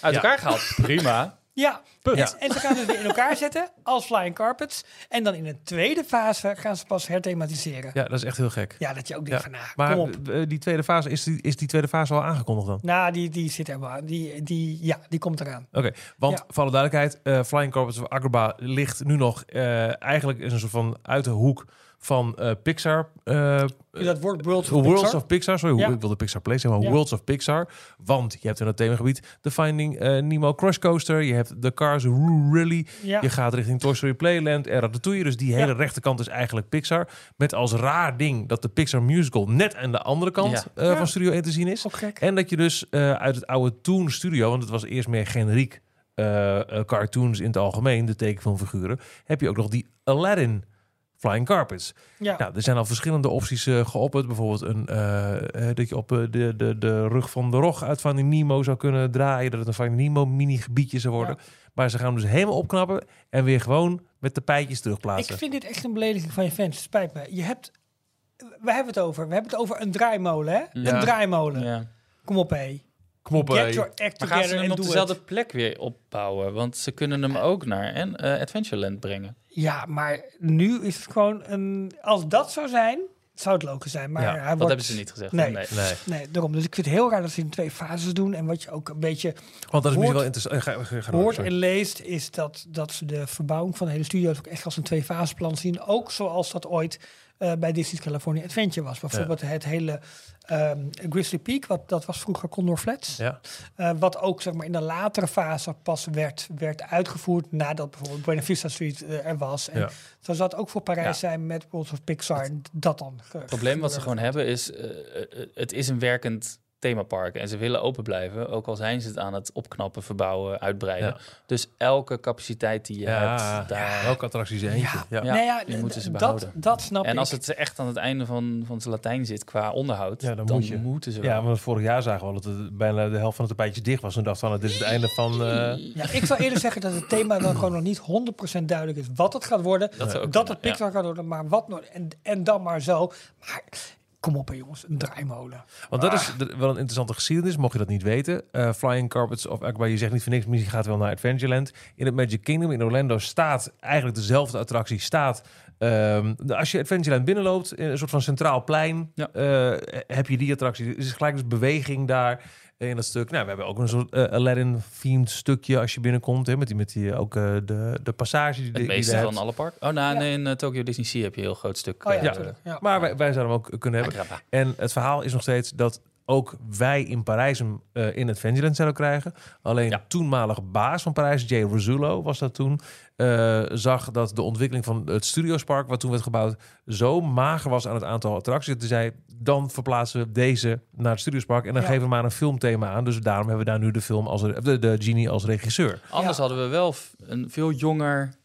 uit
Ja.
elkaar gehaald. Prima.
ja. En,
Ja.
en ze gaan het weer in elkaar zetten als Flying Carpets. En dan in een tweede fase gaan ze pas herthematiseren. Ja,
Ja, dat is echt heel gek.
dat je ook
Ja.
denkt van, ah,
Maar
kom op.
eh, die tweede fase, is die, is die tweede fase al aangekondigd dan?
Nou, die, die zit er wel aan. Die, die, ja, die komt eraan.
Oké, want
Ja.
voor alle duidelijkheid, eh, Flying Corpus of Agrabah ligt nu nog eh, eigenlijk in een soort van uit de hoek van eh, Pixar. eh,
Dus dat wordt World of
Worlds
Pixar.
of Pixar, sorry,
Ja.
ik wilde Pixar Play zeggen, maar
Ja.
Worlds of Pixar. Want je hebt in het themagebied de Finding eh, Nemo Crush Coaster, je hebt de Cars Roo Rally,
Ja.
je gaat richting Toy Story Playland en Ratatouille. Dus die hele
Ja.
rechterkant is eigenlijk Pixar. Met als raar ding dat de Pixar Musical net aan de andere kant eh,
Ja.
van Studio 1 te zien is.
Ook gek.
En dat je dus eh, uit het oude Toon Studio, want het was eerst meer generiek eh, eh, cartoons in het algemeen, de tekenfilmfiguren, heb je ook nog die Aladdin Flying Carpets.
Ja.
Nou, er zijn al verschillende opties eh, geopperd. Bijvoorbeeld een, eh, eh, dat je op eh, de, de, de rug van de rog uit Finding Nemo zou kunnen draaien. Dat het een Finding Nemo mini gebiedje zou worden. Maar ze gaan hem dus helemaal opknappen en weer gewoon met tapijtjes terugplaatsen.
Ik vind dit echt een belediging van je fans. Het Spijt me. Je hebt... We hebben het over. We hebben het over een draaimolen, hè?
Ja.
Een draaimolen.
Ja.
Kom op, hé.
Kom op,
Get
hé.
your act
Maar gaan
together
ze hem
en
op
doe
dezelfde
het.
plek weer opbouwen? Want ze kunnen hem ook naar en, eh, Adventureland brengen.
Ja, maar nu is het gewoon een... Als dat zou zijn, zou het logisch zijn. Maar
Ja,
hij
dat
wordt...
Dat hebben ze niet gezegd.
Nee.
Nee.
Nee, daarom. Dus ik vind het heel raar dat ze in twee fases doen. En wat je ook een beetje
Want dat is misschien
Hoort-
wel interessant. eh, ga- ga- ga door,
hoort
sorry.
en leest... is dat, dat ze de verbouwing van de hele studio's ook echt als een twee-faseplan zien. Ook zoals dat ooit eh, bij Disney's California Adventure was. Bijvoorbeeld het hele ehm, Grizzly Peak. Wat, dat was vroeger Condor Flats.
Ja.
Eh, wat ook zeg maar, in de latere fase pas werd, werd uitgevoerd nadat bijvoorbeeld Buena Vista Street eh, er was. En
Ja.
Zo zou het ook voor Parijs
Ja.
zijn met World of Pixar. en Dat dan.
Het probleem wat ze gewoon hebben is, eh, eh, eh, het is een werkend themaparken. En ze willen open blijven, ook al zijn ze het aan het opknappen, verbouwen, uitbreiden.
Ja.
Dus elke capaciteit die je hebt, daar...
welke attractie is eentje? Ja. Ja.
Ja.
nou ja,
die moeten ze
dat,
behouden.
dat snap
En als
ik.
het echt aan het einde van, van zijn Latijn zit qua onderhoud,
Ja, dan
dan,
moet je.
moeten ze wel.
want vorig jaar zagen we al dat het bijna de helft van het tapijtje dicht was. En dacht van, het is het einde van... eh,
Ja, ik zou eerder zeggen dat het thema dan gewoon nog niet 100% duidelijk is wat het gaat worden. Dat,
zou ook
het
kunnen,
Pixar gaat worden, maar wat nog. En, en dan maar zo. Maar kom op, hè, jongens, een draaimolen.
Want dat
Ah.
is d- wel een interessante geschiedenis, mocht je dat niet weten. Eh, Flying Carpets of Akbar, je zegt niet voor niks, misschien gaat het wel naar Adventureland. In het Magic Kingdom in Orlando staat eigenlijk dezelfde attractie, staat... ehm, de- als je Adventureland binnenloopt, in een soort van centraal plein,
Ja.
eh, heb je die attractie. Er is gelijk dus beweging daar eh, in dat stuk. Nou, we hebben ook een soort eh, Aladdin-themed stukje als je binnenkomt. Hè, met die, met die, ook eh, de, de passage die,
Het
die
meeste
daar
van
hebt.
alle parken. Oh, nou, nee, in eh, Tokyo Disney Sea heb je een heel groot stuk.
Oh ja,
eh,
natuurlijk. Ja.
Maar wij, wij zouden hem ook kunnen hebben.
Agrabah.
En het verhaal is nog steeds dat ook wij in Parijs hem eh, in het Adventureland zouden krijgen. Alleen
Ja.
toenmalige baas van Parijs, Jay Rizzullo was dat toen, eh, zag dat de ontwikkeling van het Studiospark, wat toen werd gebouwd, zo mager was aan het aantal attracties. Dat hij zei, dan verplaatsen we deze naar het Studiospark en dan
Ja.
geven we maar een filmthema aan. Dus daarom hebben we daar nu de, film als, re- de, de genie als regisseur.
Anders hadden we wel f- een veel jonger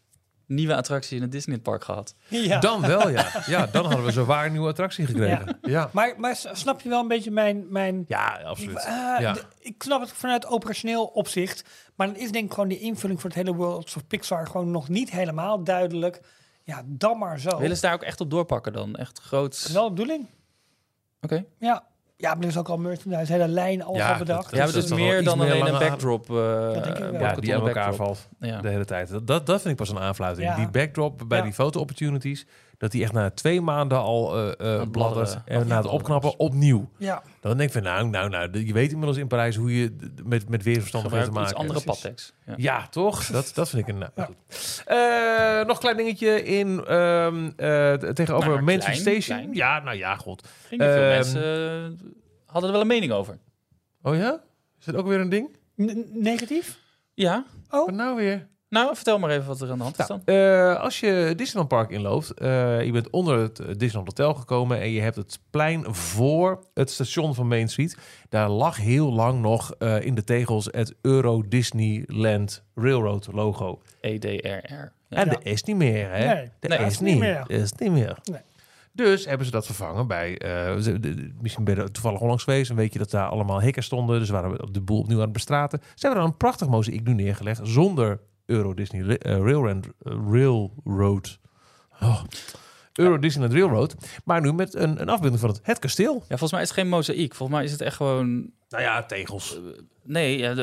nieuwe attractie in het Disneypark gehad.
Ja.
Dan wel, ja. Ja, dan hadden we zowaar een nieuwe attractie gekregen. Ja, ja.
Maar, maar s- snap je wel een beetje mijn... mijn
absoluut.
Ah,
ja.
de- ik snap het vanuit operationeel opzicht. Maar dan is denk ik gewoon die invulling voor het hele Worlds of Pixar gewoon nog niet helemaal duidelijk. Ja, dan maar
Oh.
zo.
Willen ze daar ook echt op doorpakken dan? Echt groot.
Dat is
Oké.
wel de bedoeling. Ja. Ja, maar er is ook al merchandise, hele lijn, alles
Ja,
al bedacht.
Ja, maar
dat
dus
is
is
dan wel
meer
iets
dan
meer
alleen een
lange
backdrop. eh
Dat denk ik wel.
Ja,
een
Ja,
die
bakkartonnen
aan elkaar
backdrop.
valt
Ja.
de hele tijd. Dat, dat, dat vind ik pas een aanfluiting.
Ja.
Die backdrop bij
Ja.
die foto-opportunities, dat die echt na twee maanden al eh, eh,
het
bladdert
bladderen.
en na het opknappen opnieuw.
Ja.
Dan denk ik van nou, nou, nou, je weet inmiddels in Parijs hoe je d- met, met weersomstandigheden
Gebruik
te
iets
maken hebt.
andere padtekst. Ja.
Ja, toch? Dat, dat vind ik een... nou, goed. Eh, nog een klein dingetje in, ehm, eh, t- tegenover
Nou, maar
Main
klein,
Street Station.
klein.
Ja, nou ja, god.
Gingen veel
Ehm,
mensen eh, hadden er wel een mening over.
Oh ja? Is dat ook weer een ding?
N- negatief?
Ja.
Wat nou weer?
Nou, vertel maar even wat er aan de hand is
Nou,
dan.
eh, als je Disneyland Park inloopt, eh, je bent onder het eh, Disneyland Hotel gekomen en je hebt het plein voor het station van Main Street. Daar lag heel lang nog eh, in de tegels het Euro Disneyland Railroad logo.
E EDRR. Ja.
En dat is niet meer, hè?
Nee.
dat
Nee,
is niet. Dat is niet meer.
Nee.
Dus hebben ze dat vervangen bij, eh, ze- de- de- misschien ben je er toevallig onlangs geweest en weet je dat daar allemaal hikken stonden. Dus waren we op de boel opnieuw aan het bestraten. Ze hebben daar een prachtig mozaïek nu neergelegd zonder Euro Disney Ra- eh, Railroad. eh, Railroad. Oh. Euro Disneyland Railroad. Maar nu met een, een afbeelding van het, het kasteel.
Ja, volgens mij is het geen mozaïek. Volgens mij is het echt gewoon...
Nou ja, tegels.
Nee, ja, de,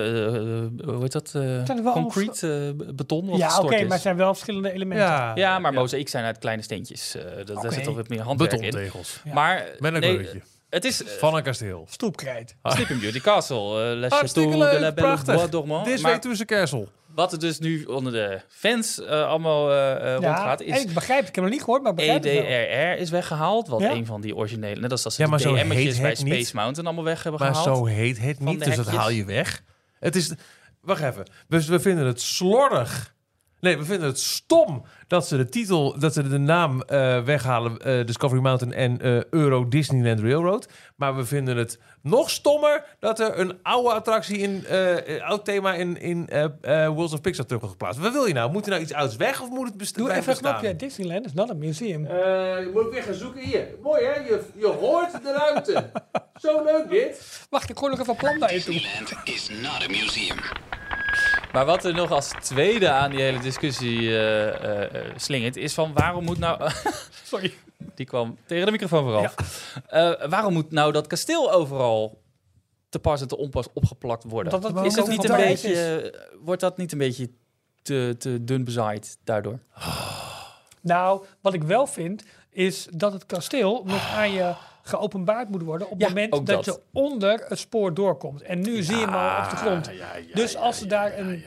de- de- hoe heet dat? eh,
er wel
concrete eh, beton wat
ja,
gestort
oké,
is.
maar het zijn wel verschillende elementen.
Ja,
Ja, maar mozaïek zijn uit kleine steentjes. Eh, dat, Daar zit toch wat meer handwerk in.
betontegels.
Maar
Met een
nee,
kleurtje.
het is eh,
Van een kasteel.
Stoepkrijt.
Sleeping Beauty Castle. eh, Le
Hartstikke
Château de la
leuk,
Belle Bois
prachtig.
Dormant.
Dit
Maar
week tussen kersel.
wat er dus nu onder de fans eh, allemaal eh, eh,
Ja,
rondgaat
en
is... E
ik begrijp, het, ik heb het nog niet gehoord, maar ik begrijp het wel.
EDRR is weggehaald, wat
Ja.
een van die originele... Net als dat ze
Ja,
die
maar zo
DM'tjes
heet
bij
het
Space
niet.
Mountain allemaal weg hebben
Maar
gehaald.
zo heet het
Van
niet,
de
dus dat
hekjes.
haal je weg. Het is... Wacht even. Dus we vinden het slordig. Nee, we vinden het stom dat ze de titel, dat ze de naam eh, weghalen, eh, Discovery Mountain en eh, Euro Disneyland Railroad. Maar we vinden het nog stommer dat er een oude attractie in, eh, eh, oud thema in, in eh eh, Worlds of Pixar terug wordt geplaatst. Wat wil je nou? Moet er nou iets ouds weg of moet het best-
Doe
blijven
even een
bestaan?
knopje. Disneyland is not a museum.
Eh, moet ik weer gaan zoeken? Hier, mooi hè? Je, je hoort de ruimte. Zo leuk dit.
Wacht, ik hoor nog even een plan daarin toe.
Disneyland is not a museum.
Maar wat er nog als tweede aan die hele discussie eh, eh, eh, slingert, is van waarom moet nou.
Sorry.
die kwam tegen de microfoon vooral. Eh, waarom moet nou dat kasteel overal te pas en te onpas opgeplakt worden?
Omdat dat
is dat
ook
niet
een
een
fantasies
beetje. eh, Wordt dat niet een beetje te, te dun bezaaid daardoor?
Nou, wat ik wel vind, is dat het kasteel nog aan je geopenbaard moet worden op het
Ja,
moment
ook
dat,
dat.
je onder het spoor doorkomt. En nu zie je hem al op de grond. dus als ze daar een,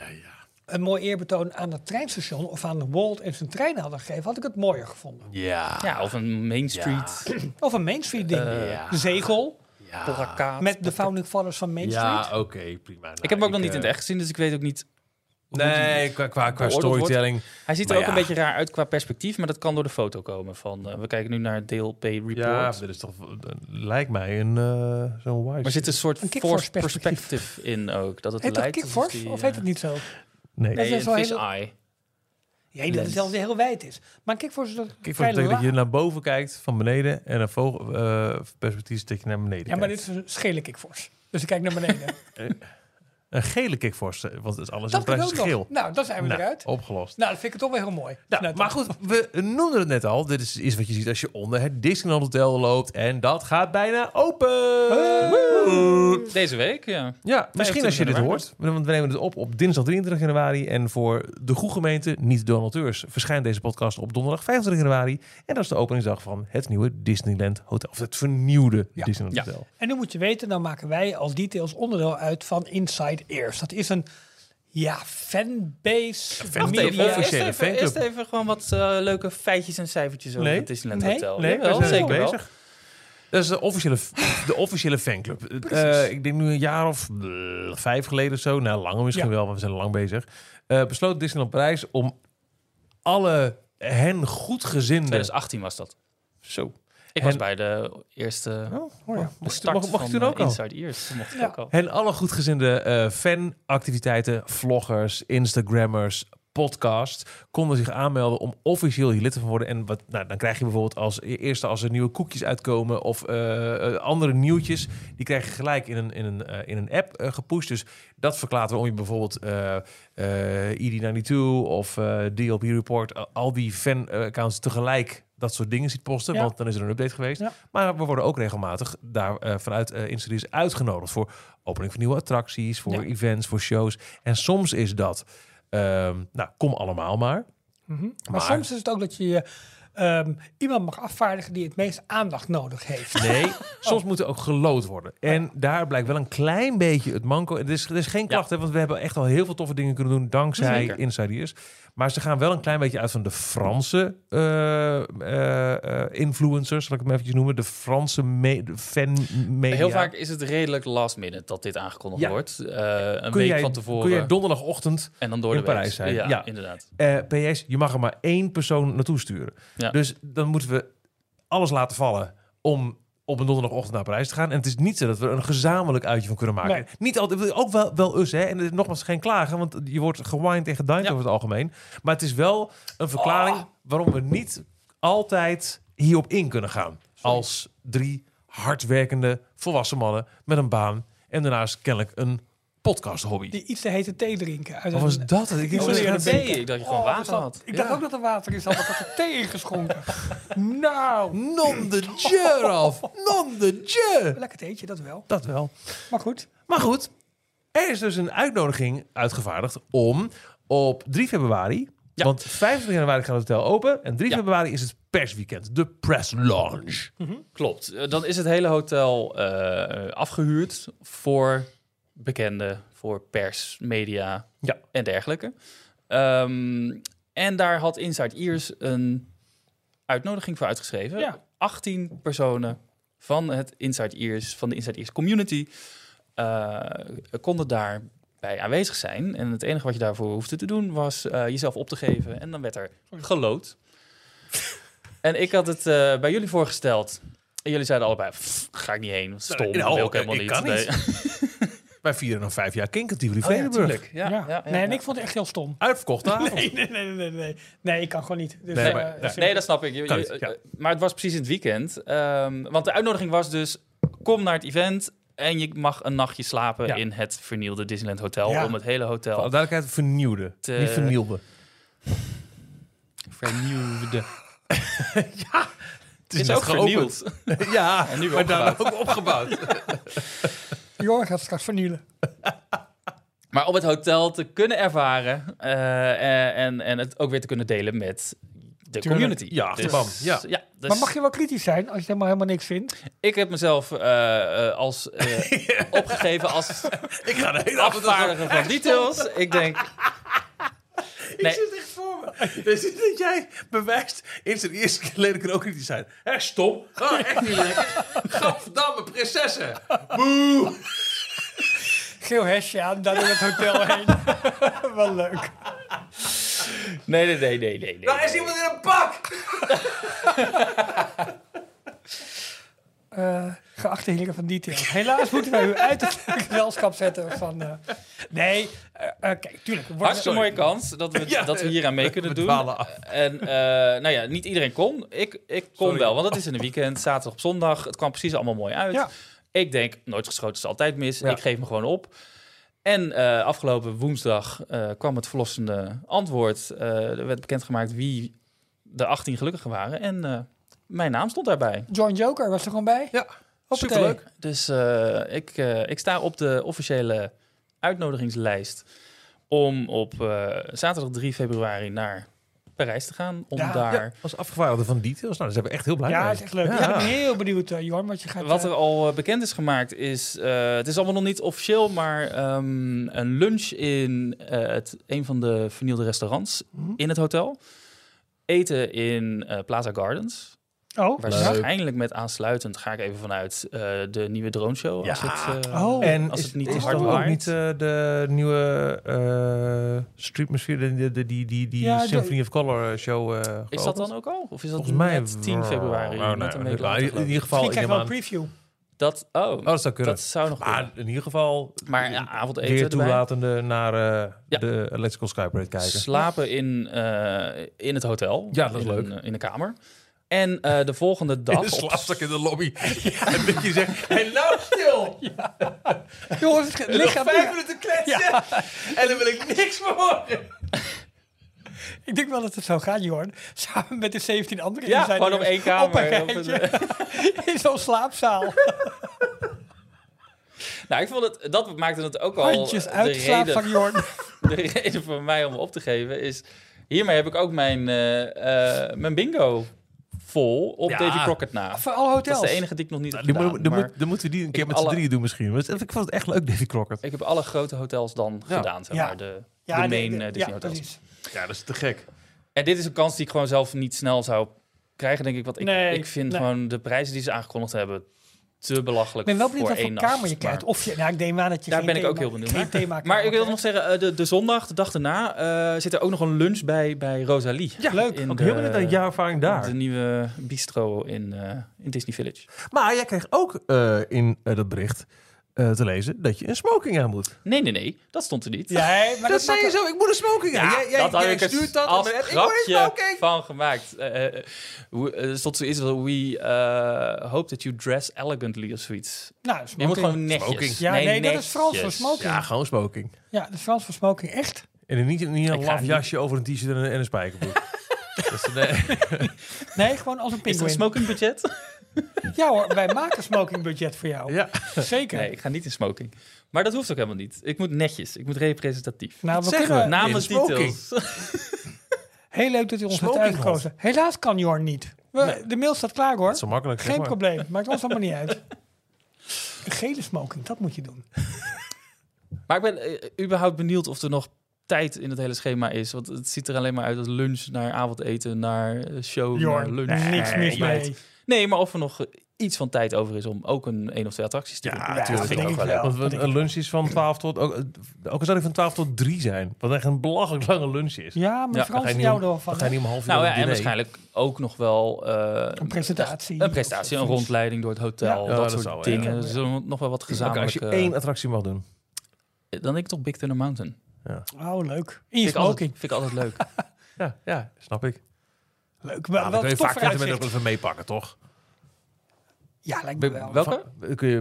een mooi eerbetoon aan het treinstation of aan de Walt en zijn trein hadden gegeven, had ik het mooier gevonden.
Ja.
Ja, of een Main Street.
Of een Main Street ding.
Ja.
Zegel
plakkaat.
met de founding fathers van Main Street.
Ja, oké, prima. Nou,
Ik heb hem ook nog
eh,
niet in het echt gezien, dus ik weet ook niet
Nee, qua, qua, qua
beoordeeld wordt.
storytelling.
Hij ziet er
Maar
ook
ja.
een beetje raar uit qua perspectief, maar dat kan door de foto komen. Van, eh, we kijken nu naar het deel P report.
Ja, dit is toch, eh, lijkt mij een eh, zo'n wise.
maar er zit een soort
Een
force
kickforce
perspective.
perspectief.
in ook. Dat het
Heet dat
lijkt alsof
kickforce
die,
of
eh,
heet het niet zo?
nee,
dat
Nee,
is
een
wel
fish
heel-
eye.
Ja, dat
Lens.
het zelfs heel wijd is. Maar een kickforce is dat
Kijk,
vrij
dat betekent dat je
laag.
naar boven kijkt van beneden en een vogel eh, perspectief is dat je naar beneden
Ja, maar dit
kijkt.
is een schele kickforce. Dus ik kijk naar beneden.
Een gele kickforce, eh, want het is alles
dat
in
kan
prijs
ook
is
nog.
geel.
Nou, dan zijn we
Nou,
eruit.
opgelost.
Nou, dat vind ik het toch wel heel mooi.
Nou,
Nou,
maar
toch.
goed, we noemden het net al. Dit is iets wat je ziet als je onder het Disneyland Hotel loopt. En dat gaat bijna open.
Deze week, ja.
Ja, misschien als je dit
januari.
hoort. Want we nemen het op op dinsdag 23 januari. En voor de goede gemeente, niet donateurs, verschijnt deze podcast op donderdag 25 januari. En dat is de openingsdag van het nieuwe Disneyland Hotel. Of het vernieuwde Disneyland
Ja.
Hotel.
En nu moet je weten, dan maken wij als details onderdeel uit van Inside Ears. Dat is een ja, fanbase.
fanbase.
media-
Niet de
eerst,
officiële
even,
fanclub.
eerst even gewoon wat eh, leuke feitjes en cijfertjes over
Nee.
het Disneyland
Nee.
Hotel.
Nee,
Jawel,
we zijn
zeker
zeker
wel.
bezig. Dat is de officiële, de officiële fanclub. Eh, ik denk nu een jaar of eh, vijf geleden of zo. Nou, langer misschien
Ja.
wel, want we zijn lang bezig. Eh, besloot Disneyland Parijs om alle hen goedgezinden...
2018 was dat.
Zo.
Ik
En-
was bij de eerste
Oh, hoor je. Mocht,
start
mocht, mocht ik
van
toen ook
eh,
al?
Inside Ears. Toen mocht ik
Ja.
ook al.
En alle goedgezinde eh, fanactiviteiten, vloggers, Instagrammers, podcast konden zich aanmelden om officieel hier lid te worden. En wat, nou, dan krijg je bijvoorbeeld als e- eerste als er nieuwe koekjes uitkomen of eh, eh, andere nieuwtjes, die krijg je gelijk in een, in een, eh, in een app eh, gepusht. Dus dat verklaart waarom je bijvoorbeeld eh ED92 of eh, DLP Report, al- al die fan-accounts tegelijk dat soort dingen ziet posten,
Ja.
want dan is er een update geweest.
Ja.
Maar we worden ook regelmatig daar eh, vanuit eh Instagram uitgenodigd voor opening van nieuwe attracties, voor
Ja.
events, voor shows. En soms is dat, ehm, nou, kom allemaal maar.
Maar
Maar-
soms is het ook dat je ehm, iemand mag afvaardigen die het meest aandacht nodig heeft.
Nee, Oh. soms moet er ook gelood worden. En daar blijkt wel een klein beetje het manco. Het is, er is geen klacht, hè, want we hebben echt al heel veel toffe dingen kunnen doen dankzij
Zeker.
Insideers. Maar ze gaan wel een klein beetje uit van de Franse eh, eh, eh, influencers, zal ik hem eventjes noemen. De Franse me- de fanmedia.
Heel vaak is het redelijk last minute dat dit aangekondigd
Ja.
wordt. Eh, een
kun
week
jij,
van tevoren.
Kun jij donderdagochtend
en dan door
in
de week.
Parijs zijn?
Ja,
Ja.
inderdaad.
Eh, PS, je mag er maar één persoon naartoe sturen.
Ja.
Dus dan moeten we alles laten vallen om op een donderdagochtend naar Parijs te gaan. En het is niet zo dat we er een gezamenlijk uitje van kunnen maken.
Nee.
Niet altijd, ook wel, wel us, hè. En er is nogmaals geen klagen, want je wordt gewined en gedined
Ja.
over het algemeen. Maar het is wel een verklaring waarom we niet altijd hierop in kunnen gaan. Als drie hardwerkende volwassen mannen met een baan en daarnaast kennelijk een podcast-hobby.
Die iets te hete thee drinken. Uit
Wat
een-
was dat? Ik
Die
oh,
Oh,
zullen
dat
nee,
we
gaat-
dat
nee, ik dacht je gewoon
Oh,
water
dat-
had.
Ik dacht ook dat er water in zat, want ik had er thee ingeschonken. nou,
Non de Dieu, Ralf. Non de Dieu.
lekker theetje, dat wel.
Dat wel.
Maar goed,
Maar goed, er is dus een uitnodiging uitgevaardigd om op 3 februari...
Ja.
Want 25 januari gaat het hotel open en 3
Ja.
februari is het persweekend. De press launch.
Klopt. Eh, Dan is het hele hotel eh, afgehuurd voor bekenden, voor pers, media
Ja.
en dergelijke. Ehm, en daar had Inside Ears een uitnodiging voor uitgeschreven.
Ja.
18 personen van het Inside Ears, van de Inside Ears community, eh, konden daar bij aanwezig zijn. En het enige wat je daarvoor hoefde te doen was eh, jezelf op te geven. En dan werd er gelood. en ik had het eh, bij jullie voorgesteld. En jullie zeiden allebei, "Pff, ga ik niet heen. Stom,
Nou,
wil
ik-
ik helemaal
ik
niet.
kan
Nee.
niet. Wij vieren nog vijf jaar Kinkertivoli
Oh, ja,
Vredenburg.
tuurlijk. Ja,
ja.
ja, ja,
nee, en
ja.
ik vond het echt heel stom.
Uitverkocht avond.
Nee, nee, nee, nee, nee. Nee, ik kan gewoon niet. Dus,
Nee,
eh,
maar-
eh,
nee.
Nee, dat snap ik. Je-
Kan
je-
niet, ja.
eh, Maar het was precies in het weekend. Ehm, want de uitnodiging was dus: kom naar het event en je mag een nachtje slapen
Ja.
in het vernielde Disneyland Hotel.
Ja.
Om het hele
Voor alle
hotel
duidelijkheid, vernieuwde.
Te-
Niet vernielde.
vernieuwde.
Het
Is,
net
ook
geopend.
vernieuwd.
Ja,
En nu weer
maar daar ook opgebouwd.
Jorn gaat straks vernielen.
Maar om het hotel te kunnen ervaren eh, eh, en, en het ook weer te kunnen delen met de community.
Ja, achterban. Ja.
dus
Maar mag je wel kritisch zijn als je helemaal, helemaal niks vindt?
Ik heb mezelf eh, eh, als eh, opgegeven als
Ik ga de hele avond
afvaardiger van details. Ik denk. Nee.
Ik zit echt voor me. Dus dat jij bewijst in zijn eerste leden kunnen ook kritisch zijn. Echt stom. Oh, echt niet lekker. Gadverdamme, prinsessen. Boe.
geel hesje aan, daar door het hotel heen. Wel leuk.
Nee, nee, nee, nee, nee. nee.
Nou, is iemand in een pak!
Eh, geachte heren van details. Helaas moeten wij u uit het gezelschap zetten van... eh, nee, eh, eh, kijk, tuurlijk. we worden-
Hartstikke mooie kans dat we,
Ja,
dat we hier aan mee kunnen
we
doen.
dwalen af.
En eh, nou ja, niet iedereen kon. Ik, ik kon
Sorry.
wel, want het is in een weekend, zaterdag op zondag. Het kwam precies allemaal mooi uit.
Ja.
Ik denk, nooit geschoten is altijd mis.
Ja.
Ik geef me gewoon op. En eh, afgelopen woensdag eh, kwam het verlossende antwoord. Eh, er werd bekendgemaakt wie de 18 gelukkigen waren. En eh, mijn naam stond daarbij.
John Joker was er gewoon bij.
Ja,
Hoppatee.
superleuk.
Dus eh, ik, eh, ik sta op de officiële uitnodigingslijst om op eh, zaterdag 3 februari naar Parijs te gaan. Om
Ja,
daar.
Ja, als afgevaardigde van details. Nou, daar zijn we echt heel blij
Ja,
mee.
het is echt leuk.
Ja.
Ik ben heel benieuwd, eh, Jorn, wat je gaat...
Wat
eh,
er al eh, bekend is gemaakt is, eh, het is allemaal nog niet officieel, maar ehm, een lunch in eh, het, een van de vernielde restaurants
Mhm.
in het hotel. Eten in eh, Plaza Gardens.
oh, ja.
Waarschijnlijk met aansluitend, ga ik even vanuit, eh, de nieuwe drone show.
Ja.
Als het, eh,
Oh.
En
Als
is,
het niet te
is
hard
toch ook
waait.
niet eh, de nieuwe eh streetmuseum, de, de, de- die, die, die
Ja, de-
Symphony of Color eh, show eh,
Is dat
geopend?
dan ook al? Of is dat
Volgens mij
net 10 februari?
Oh, nee,
net een week
maar
later,
in- in,
geloof ik.
ieder geval,
Misschien
ik
krijg je
neem
wel een
aan,
preview.
Dat, oh,
oh, dat zou kunnen.
dat zou nog kunnen.
maar in ieder geval
Maar ja, avondeten
weer
erbij.
toelatende naar eh,
Ja.
de Electrical Sky Parade kijken.
Slapen in, eh, in het hotel.
Ja, dat is
in
leuk.
Een, in een kamer. En eh, de volgende dag... op-
in de lobby. En dat je zegt, hey, nou stil!
Jongens, het lichaam...
minuten kletsen! En dan wil ik niks meer horen!
Ik denk wel dat het zo gaat, Jorn. Samen met de 17 anderen.
Ja,
die zijn
gewoon op
er
één kamer.
Op een rijtje. in zo'n slaapzaal.
nou, ik vond het... Dat maakte het ook al...
Handjes uit de slaap van
reden,
Jorn.
de reden voor mij om op te geven is... Hiermee heb ik ook mijn, eh, eh, mijn bingo vol op
Ja.
Davy Crockett na.
Voor alle
Dat
hotels.
is de enige die ik nog niet heb
Dan,
gedaan,
moet- dan,
maar-
moet- dan moeten we die een keer
Ik
met z'n
alle-
drieën doen misschien. Want Ik vond het echt leuk, Davy Crockett.
Ik heb alle grote hotels dan gedaan, zeg
Ja.
maar. De,
Ja,
de
nee,
main
de-
eh,
ja,
Disney hotels.
precies.
Ja, dat is te gek.
En dit is een kans die ik gewoon zelf niet snel zou krijgen, denk ik. Want ik,
Nee,
ik vind
nee.
gewoon de prijzen die ze aangekondigd hebben te
Ik
belachelijk
ben wel benieuwd
voor
wat voor
één
kamer
nacht.
je krijgt.
Maar
Of je, nou, ik neem aan dat je
daar
geen
ben ik ook
thema-
heel benieuwd
geen
naar.
thema
Maar ik wil nog
krijgt.
zeggen, eh, de, de zondag, de dag daarna, eh, zit er ook nog een lunch bij, bij Rosalie.
Ja, leuk.
In
Ook
de-
heel benieuwd naar jouw ervaring daar.
De nieuwe bistro in, eh, in Disney Village.
Maar jij kreeg ook eh, in eh, dat bericht eh, te lezen dat je een smoking aan moet.
Nee, nee, nee. Dat stond er niet.
Ja, hè, maar
Dat,
dat
zei je
maakt-
zo, ik moet een smoking aan. jij jij,
dat had
jij
ik er
stuurt dat
als
en dan- ik moet een
grapje
smoking.
van gemaakt. Eh, eh, hoe- eh, Er stond zoiets als, we eh, hope that you dress elegantly of zoiets.
Nou,
Je moet
smoking.
gewoon netjes.
Smoking.
Ja, nee, dat is Frans voor
netjes.
smoking.
Ja,
Ja,
gewoon smoking.
dat is Frans voor smoking. Echt?
En niet, niet een
Ik ga
laf
niet-
jasje over een t-shirt en een, en een spijkerbroek. Dat is een, eh,
Nee, gewoon als een
Is er een
pinguïn.
smoking budget?
Ja hoor, wij maken smoking budget voor jou.
ja.
Zeker.
Nee, ik ga niet in smoking. Maar dat hoeft ook helemaal niet. Ik moet netjes. Ik moet representatief.
Nou, we
Zeggen
kunnen...
we.
Namens
in smoking.
details.
Heel leuk dat u ons heeft
Smoking
uitgekozen. Helaas kan Jorn niet. We- De mail staat klaar hoor.
is wel makkelijk, zeg
Geen
maar.
probleem. Maakt ons allemaal niet uit. Een gele smoking, dat moet je doen.
Maar ik ben eh, überhaupt benieuwd of er nog tijd in het hele schema is. Want het ziet er alleen maar uit als lunch naar avondeten, naar eh, show, naar
Jorn,
lunch.
niks mis
meid.
mee.
Nee, maar of er nog eh, iets van tijd over is om ook een één of twee attracties te doen. Ja,
natuurlijk
vind
wel.
ik ook wel. leuk.
Ja,
Want
dat
we- een lunch is van 12 tot... Ook, eh, ook al zou die van 12 tot 3 zijn. Wat echt een belachelijk lange lunch is.
Ja, maar
Ja,
Dan ga
Frans
je
is
niet
jou
om-
er wel van.
dan ga je niet om half uur
Nou
op
ja, en
diner.
waarschijnlijk ook nog wel... eh,
Een presentatie.
Een prestatie, een rondleiding door het hotel,
Ja,
dat,
dat zou
soort
wel, ja.
dingen. Dus er moet nog wel wat
Oké, als
gezamenlijk... eh,
je één attractie mag doen.
Dan denk ik toch Big Thunder Mountain.
Oh, leuk. In je
Vind ik, altijd,
smoking.
vind ik altijd leuk.
Ja, ja snap ik.
Leuk. Wel,
Nou,
wel
dan kun je
tof
vaak Phantom
vooruitzicht.
Menace even meepakken, toch?
Ja, lijkt me wel.
Welke?
Van- kun je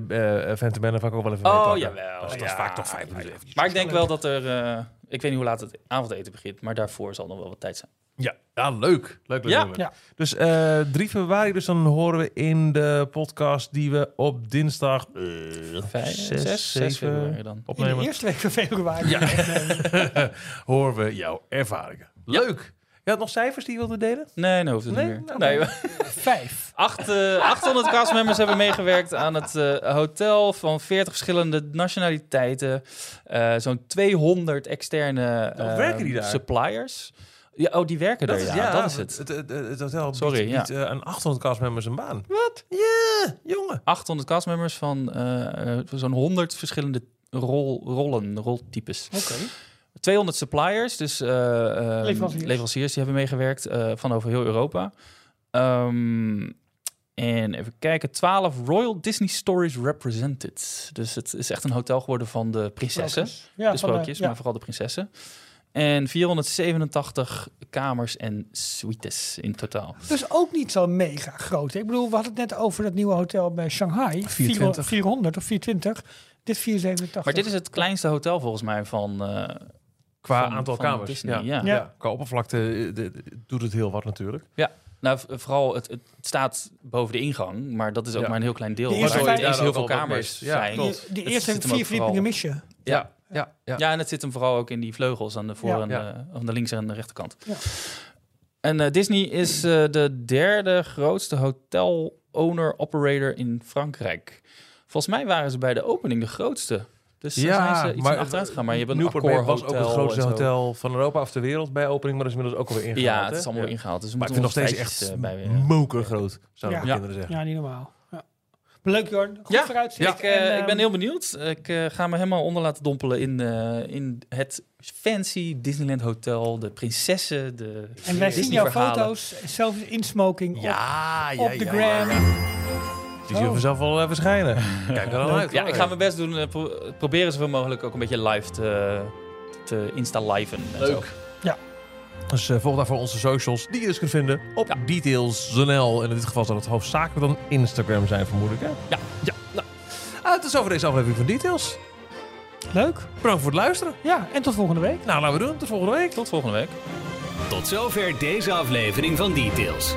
eh Phantom Menace vaak ook wel even
Oh,
meepakken.
jawel,
Dat is, dat is
ja.
vaak toch vijf minuten eventjes.
Maar ik denk wel dat er... eh, ik weet niet hoe laat het avondeten begint, maar daarvoor zal nog wel wat tijd zijn.
Ja, ja leuk. Leuk, leuk.
Ja.
leuk.
Ja.
Dus eh 3 februari, dus dan horen we in de podcast die we op dinsdag eh,
Vijf,
zes,
zes, zes
zeven
februari dan.
In de
opnemen.
eerste week van februari.
horen we jouw ervaringen. Leuk. Je had nog cijfers die je wilde delen?
Nee, nee, hoeft het
Nee?
niet meer.
Nou,
nee,
Vijf.
acht, eh, 800 castmembers hebben meegewerkt aan het eh, hotel van 40 verschillende nationaliteiten. Eh, Zo'n 200 externe
Dan
eh,
werken die daar?
suppliers. Ja, oh, die werken daar, ja, Dat is het.
Het, het, het hotel
Sorry,
biedt,
ja.
biedt, eh, aan 800 castmembers een baan. Wat? Ja, jongen.
800 castmembers van eh, eh, zo'n 100 verschillende rol, rollen, roltypes.
Oké.
200 suppliers, dus eh, ehm,
Leveranciers.
leveranciers die hebben meegewerkt eh, van over heel Europa. Ehm, en even kijken, 12 Royal Disney Stories Represented. Dus het is echt een hotel geworden van de prinsessen.
Ja,
de
van
sprookjes,
ja.
maar vooral de prinsessen. En 487 kamers en suites in totaal.
Dus ook niet zo mega groot. hè? Ik bedoel, we hadden het net over dat nieuwe hotel bij Shanghai. 400, 400 of 420. Dit 487.
Maar dit is het kleinste hotel volgens mij van... eh,
Qua
van-
aantal
van
kamers.
Disney,
ja.
ja.
Ja. Qua oppervlakte eh, de- de- doet het heel wat natuurlijk.
Ja, nou, v- vooral het, het staat boven de ingang, maar dat is ook
Ja.
maar een heel klein deel.
De
Waardoor
eerste
er
vijf-
ineens
daar
heel
ook
veel
wel wat
kamers
mis. Ja,
zijn.
klopt.
de, de
Het
eerste
zit hem
vier
ook vooral-
verdiepingen mis je.
Ja, ja, ja.
Ja, en het zit hem vooral ook in die vleugels aan de voor-
Ja.
en
Ja.
De, aan de links- en de rechterkant.
Ja.
En eh, Disney is eh, de derde grootste hotel-owner-operator in Frankrijk. Volgens mij waren ze bij de opening de grootste. Dus daar zijn ze iets in achteruit gegaan. Maar je hebt een
Newport
Accor
Bay was ook het
Hotel
grootste
en zo.
hotel van Europa of ter wereld bij opening, maar dat is inmiddels ook alweer ingehaald.
Ja, het is
hè?
allemaal
Ja.
weer ingehaald. Dus we
Maar ik
moeten
vind nog steeds
rijtjes,
echt
eh, bij weer-
mokergroot, zouden de
Ja.
kinderen zeggen.
Ja, niet normaal. Ja, Leuk, Jorn. Goed
Ja,
vooruitzicht.
ik, eh,
En, ehm,
ik ben heel benieuwd. Ik eh, ga me helemaal onder laten dompelen in, eh, in het fancy Disneyland Hotel, de prinsessen, de
En wij zien jouw
Disney-verhalen.
foto's, zelfs insmoking op,
Ja,
op de gram.
Die zien we zelf wel eh, verschijnen. Kijk er dan uit.
Ja,
hoor.
ik ga mijn best doen. eh, pro- proberen zoveel mogelijk ook een beetje live te, te insta-liven. en zo.
Dus eh, volg daarvoor onze socials, die je dus kunt vinden op details.nl. En in dit geval zal het hoofdzakelijk dan Instagram zijn, vermoedelijk. Hè?
Ja.
ja. Nou, ah, het is over deze aflevering van Details.
Leuk.
Bedankt voor het luisteren.
Ja, en tot volgende week.
Nou, laten we doen. Tot volgende week.
Tot volgende week.
Tot zover deze aflevering van Details.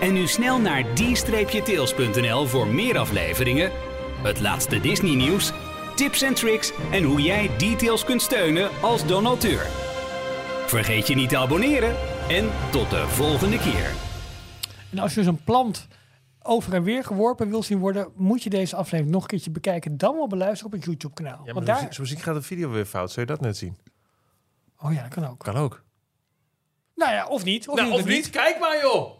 En nu snel naar d-tails.nl voor meer afleveringen, het laatste Disney nieuws, tips en tricks en hoe jij Details kunt steunen als donateur. Vergeet je niet te abonneren en tot de volgende keer.
En als je zo'n plant over en weer geworpen wil zien worden, moet je deze aflevering nog een keertje bekijken. Dan wel beluisteren op het YouTube-kanaal.
Ja, maar
Want
zo,
daar...
muziek, zo muziek gaat de video weer fout. Zou je dat net zien?
Oh ja, dat kan ook.
Kan ook.
Nou ja, of niet. Of,
Nou,
je doet
of
het
niet? Kijk maar, joh!